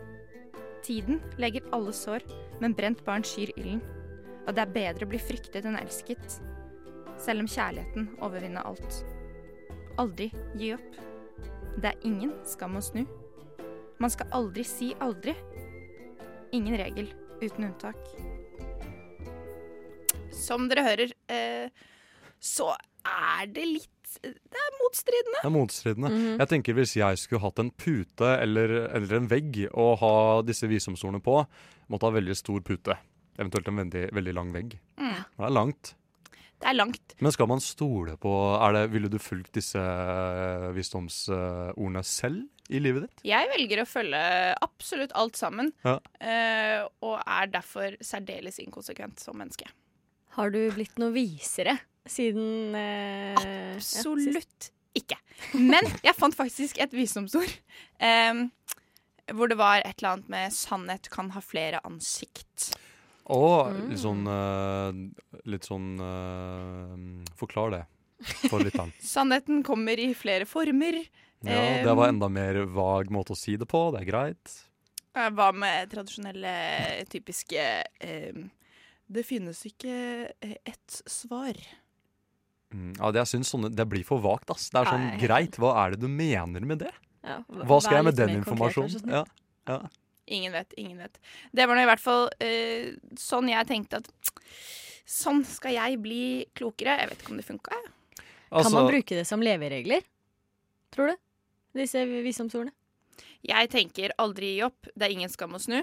D: Tiden leger alle sår, men brent barn skyr ilden. Og det er bedre å bli fryktet enn elsket. Selv om kjærligheten overvinner alt. Aldri gi opp. Det er ingen skam å snu. Man skal aldri si aldri. Ingen regel uten unntak.
U: Som dere hører, eh, så er det litt eh, Det er motstridende.
W: Det er motstridende.
U: Mhm.
W: Jeg tenker Hvis jeg skulle hatt en pute eller, eller en vegg og ha disse visdomsordene på, måtte ha veldig stor pute. Eventuelt en veldig, veldig lang vegg.
U: Mm.
W: Det er langt.
U: Det er langt.
W: Men skal man stole på er det, Ville du fulgt disse eh, visdomsordene selv i livet ditt?
U: Jeg velger å følge absolutt alt sammen,
W: Ja.
U: eh, og er derfor særdeles inkonsekvent som menneske.
C: Har du blitt noe visere siden eh,
U: Absolutt ikke. Men jeg fant faktisk et visdomsord. em, hvor det var et eller annet med 'sannhet kan ha flere ansikt'.
W: Og
U: Mm.
W: litt sånn, eh, litt sånn eh, Forklar det for lytteren.
U: Sannheten kommer i flere former.
W: Ja, det var enda mer vag måte å si det på. Det er greit.
U: Eh, Hva med tradisjonelle, typiske em, Det finnes ikke eh, ett svar.
W: Mm, ja, det, jeg synes sånne, det blir for vagt, ass. Det er sånn
U: Nei.
W: greit, hva er det du mener med det?
U: Ja, v-
W: hva skal
U: vær
W: jeg med
U: litt
W: den
U: mer konkret, sånn? vær så
W: informasjonen?
U: snill.
W: Ja, ja.
U: Ingen vet, ingen vet. Det var nå i hvert fall eh, sånn jeg tenkte at Sånn skal jeg bli klokere. Jeg vet ikke om det funka.
C: Kan
W: Altså-
C: man bruke det som leveregler? Tror du? Disse visdomsordene?
U: Jeg tenker aldri gi opp. Det er ingen skam å snu.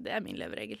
U: Det er min leveregel.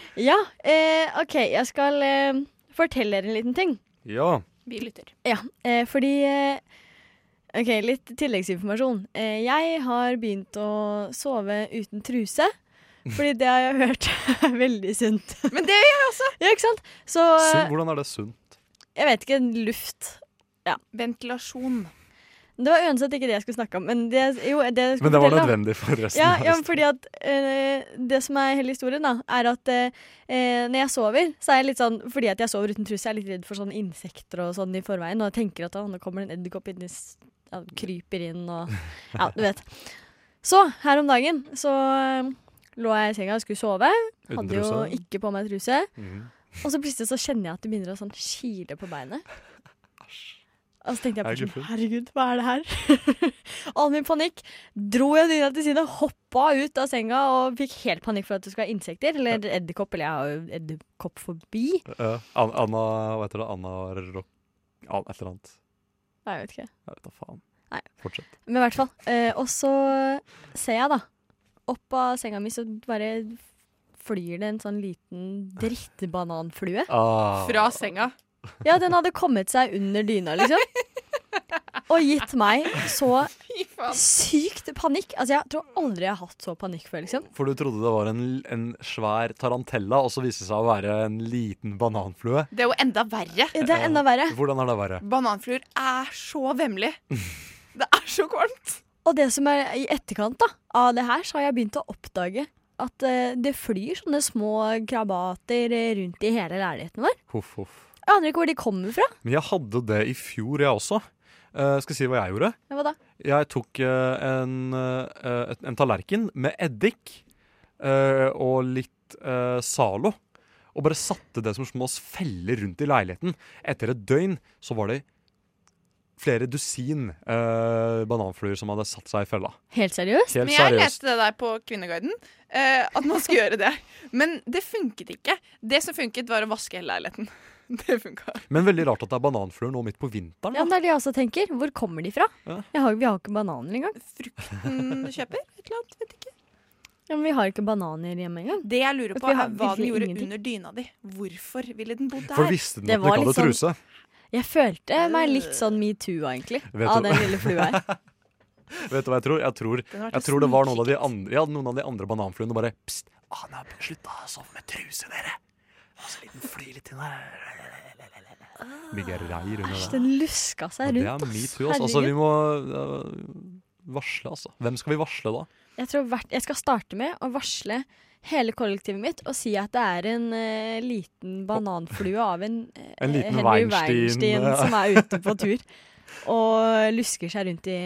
C: Ja, eh, OK. Jeg skal eh, fortelle dere en liten ting.
W: Ja.
U: Vi lytter.
C: Ja, eh, fordi eh, OK, litt tilleggsinformasjon. Eh, jeg har begynt å sove uten truse. Fordi det har jeg hørt er veldig sunt.
U: Men det gjør jeg også!
C: Ja, ikke sant? Så
W: Sunn, hvordan er det sunt?
C: jeg vet ikke, luft. Ja.
U: Ventilasjon.
C: Det var uansett ikke det jeg skulle snakke om. Men det, jo, det jeg skulle
W: Men det var
C: fortelle om-
W: nødvendig for resten
C: ja,
W: av
C: ja,
W: resten.
C: fordi at eh, Det som er hele historien, da, er at eh, eh, når jeg sover, så er jeg litt sånn Fordi at jeg sover uten truse, jeg er litt redd for sånne insekter og sånn i forveien. Og jeg tenker at «Å, nå kommer det en edderkopp inn i s- ja, den Kryper inn og Ja, du vet. Så her om dagen så eh, lå jeg i senga og skulle sove.
W: Uten
C: Hadde jo
W: truse?
C: ikke på meg truse.
W: Mhm.
C: Og så plutselig så kjenner jeg at det begynner å sånn kile på beinet. Og så
G: Er
C: tenkte jeg
G: det
C: på
G: ikke
C: sånn,
G: fint?
C: herregud, hva er det her? All min panikk. Dro jeg dyna til side, hoppa ut av senga og fikk helt panikk for at det skulle være insekter. Eller edderkopp, eller jeg har jo edderkopp forbi.
W: Ja, An- Anna Hva heter det? Anna Rock... An- Et eller annet.
C: Nei, jeg vet ikke.
W: Jeg vet da faen.
C: Nei.
W: Fortsett.
C: Men i hvert fall. Eh, og så ser jeg, da. Opp av senga mi så bare flyr det en sånn liten drittbananflue.
W: Ah.
U: Fra senga.
C: Ja, den hadde kommet seg under dyna, liksom. Og gitt meg så sykt panikk. Altså, jeg tror aldri jeg har hatt så panikk før, liksom.
W: For du trodde det var en, en svær tarantella, og så viste det seg å være en liten bananflue.
U: Det er jo enda verre.
W: Eh, Hvordan er det verre?
U: Bananfluer er så vemmelig. Det er så kvalmt.
C: Og det som er i etterkant da, av det her, så har jeg begynt å oppdage at eh, det flyr sånne små krabater eh, rundt i hele leiligheten vår.
W: Huff, huff.
C: Jeg aner ikke hvor de kommer fra.
W: Men jeg hadde det i fjor, jeg også. Eh, skal jeg si hva jeg gjorde?
C: Men Hva da?
W: Jeg tok eh, en, eh, et- en tallerken med eddik eh, og litt eh, Zalo. Og bare satte det som små feller rundt i leiligheten. Etter et døgn så var det flere dusin eh, bananfluer som hadde satt seg i fella.
C: Helt seriøst?
W: Helt
U: Men jeg
W: seriøst.
U: leste det der på Kvinneguiden, eh, at man skulle gjøre det. Men det funket ikke. Det som funket, var å vaske hele leiligheten. Det funka.
W: Men veldig rart at det er bananfluer nå midt på vinteren.
C: Ja, men det er det jeg også tenker. Hvor kommer de fra?
W: Ja.
C: Jeg har, vi har ikke bananer engang.
U: Frukten du kjøper? Et eller annet, vet ikke.
C: Ja, men vi har ikke bananer hjemme engang.
U: Det jeg lurer på,
C: Vi har
U: er hva den
C: virkelig
U: gjorde
C: ingenting.
U: under dyna di. Hvorfor ville den bodd der?
W: For visste den
C: Det
W: at den
C: var
W: ikke hadde
C: litt sånn-
W: truse?
C: Jeg følte meg litt sånn metoo, egentlig,
W: Vet
C: av
W: du-
C: den lille flua her.
W: Vet du hva jeg tror? Jeg tror,
C: Den har vært
W: jeg tror det var noen av de andre, ja, noen av de andre bananfluene bare Pst, Ana, slutta å sove med truse, dere. Og så liten fly litt inn her. Ligger rei under
C: Æsj,
W: der.
C: den luska seg
W: Det
C: rundt.
W: er
C: ass.
W: metoo. Altså. altså, vi
C: Herregud.
W: må øh, varsle, altså. Hvem skal vi varsle da?
C: Jeg tror hvert, jeg skal starte med å varsle hele kollektivet mitt og si at det er en eh, liten bananflue av en, eh,
W: En liten
C: Henry
W: Weinstein,
C: Weinstein
W: ja.
C: som er ute på tur og lusker seg rundt i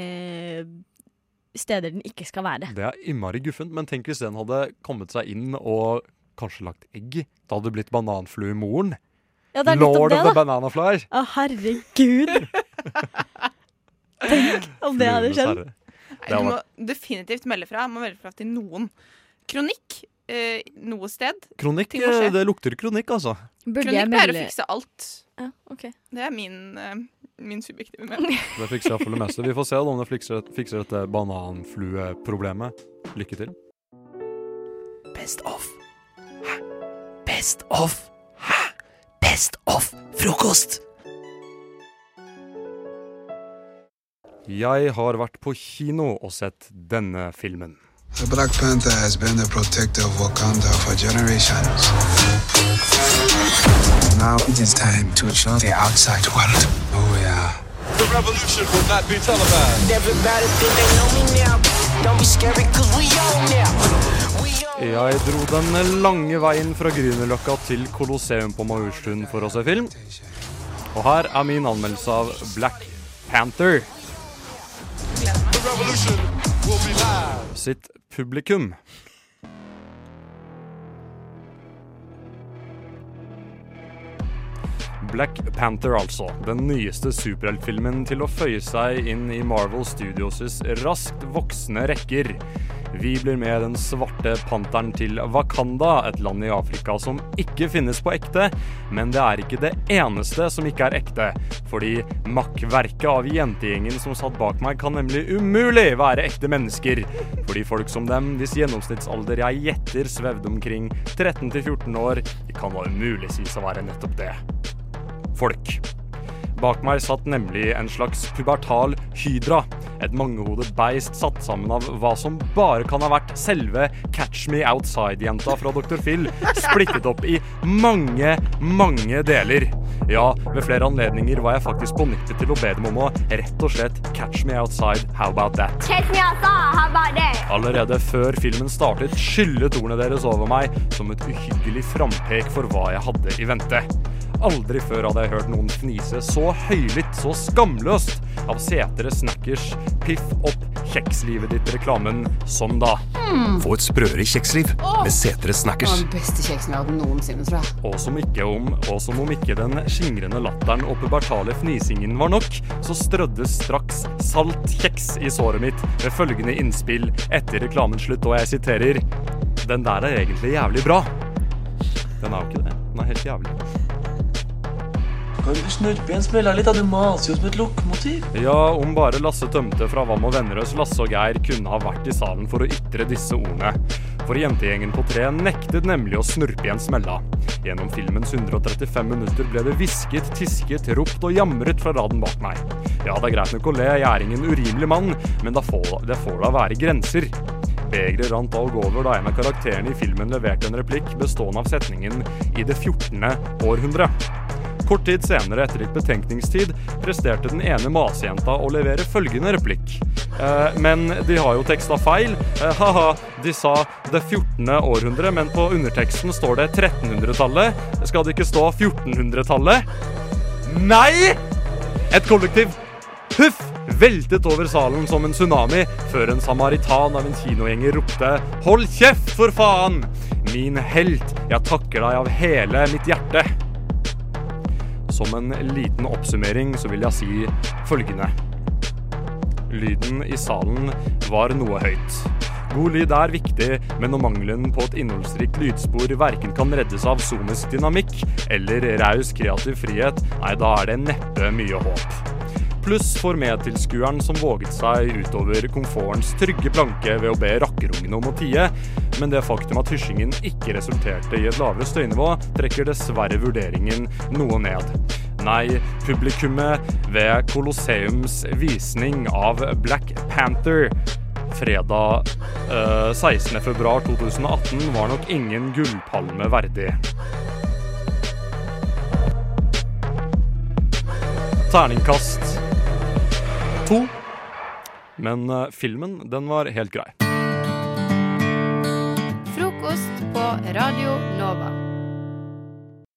C: steder den ikke skal være.
W: Det er innmari guffent, men tenk hvis den hadde kommet seg inn og kanskje lagt egg. Da hadde det blitt bananfluemoren.
C: Ja, det er litt om
W: Lord
C: det,
W: of the
C: da.
W: banana fly.
C: Å, herregud! Tenk om det hadde
W: Fluenes
C: skjedd.
W: herre.
U: Nei,
W: Det hadde
U: du må
W: vært
U: definitivt melde fra. Må melde fra til noen. Kronikk eh, noe sted.
W: kronikk. eh,
U: Ting må skje.
W: Det lukter kronikk, altså.
C: Burde
U: Kronikk
C: jeg
U: pleier å
C: melde-
U: fikse alt. Det er min, eh, min subjektive mening.
W: Det fikser jeg for det meste. Vi får se da om det fikser, fikser dette bananflueproblemet. Lykke til.
I: Best of. Hæ? Best of. Hæ? Best of frokost.
W: Jeg har vært på kino og sett denne filmen.
G: The Black Panther has been the protector of Wakanda for generations. Now it is time to show the outside world who we are.
H: The revolution will not be televised. Everybody think they know me now. Don't be scared, cause we all now.
W: Jeg dro den lange veien fra Grünerløkka til Colosseum på Majorstuen for å se film. Og her er min anmeldelse av Black Panther
H: The revolution will be live.
W: sitt publikum. Black Panther, altså. Den nyeste superheltfilmen til å føye seg inn i Marvel Studios' raskt voksende rekker. Vi blir med den svarte panteren til Wakanda, et land i Afrika som ikke finnes på ekte. Men det er ikke det eneste som ikke er ekte. Fordi makkverket av jentegjengen som satt bak meg, kan nemlig umulig være ekte mennesker. Fordi folk som dem, hvis gjennomsnittsalder jeg gjetter svevde omkring 13 til 14 år, de kan da umulig sies å være nettopp det folk. Bak meg satt nemlig en slags pubertal hydra. Et mangehodet beist satt sammen av hva som bare kan ha vært selve Catch Me Outside-jenta fra Dr. Phil, splittet opp i mange, mange deler. Ja, ved flere anledninger var jeg faktisk på nippet til å be dem om å rett og slett catch me outside, how about that?
V: Catch me outside, how about that?
W: Allerede før filmen startet, skyllet ordene deres over meg som et uhyggelig frampek for hva jeg hadde i vente. Aldri før hadde jeg hørt noen fnise så høylytt, så skamløst, av setere snackers, piff opp kjekslivet ditt-reklamen som da.
X: Mm.
W: Få et sprøere kjeksliv med setere snackers.
X: Den beste kjeksen jeg har hatt noensinne, tror jeg.
W: Og som, ikke om, og som om ikke den skingrende latteren og pubertale fnisingen var nok, så strøddes straks salt kjeks i såret mitt med følgende innspill etter reklamen slutt, og jeg siterer Den der er egentlig jævlig bra. Den er jo ikke det. Den er helt jævlig.
Y: Kan du snurpe igjen spilleren litt? da? Du maser jo som et lokomotiv.
W: Ja, om bare Lasse Tømte fra Hva med vennerøs Lasse og Geir kunne ha vært i salen for å ytre disse ordene. For jentegjengen på tre nektet nemlig å snurpe igjen smella. Gjennom filmens 135 minutter ble det hvisket, tisket, ropt og jamret fra raden bak meg. Ja, det er greit nok å le, jeg er ingen urimelig mann, men da får, det får da være grenser. Begeret rant da og over da en av karakterene i filmen leverte en replikk bestående av setningen 'I det 14. århundre'. Kort tid senere, etter litt betenkningstid, presterte den ene masejenta å levere følgende replikk. Eh, men de har jo teksta feil. Eh, haha, de sa det 14. århundre, men på underteksten står det 1300-tallet. Skal det ikke stå 1400-tallet? Nei! Et kollektiv Huff! Veltet over salen som en tsunami før en samaritan av en kinogjenger ropte 'Hold kjeft, for faen!' Min helt, jeg takker deg av hele mitt hjerte. Som en liten oppsummering så vil jeg si følgende. Lyden i salen var noe høyt. God lyd er viktig, men når mangelen på et innholdsrikt lydspor verken kan reddes av sonisk dynamikk eller raus kreativ frihet, nei, da er det neppe mye håp. Pluss for medtilskueren som våget seg utover komfortens trygge planke ved å be rakkerungene om å tie, men det faktum at hysjingen ikke resulterte i et lavere støynivå, trekker dessverre vurderingen noe ned. Nei, publikummet ved Colosseums visning av Black Panther Fredag eh, 16. februar 2018 var nok ingen gullpalme verdig. Terningkast to. Men eh, filmen, den var helt grei.
B: Frokost på Radio Nova.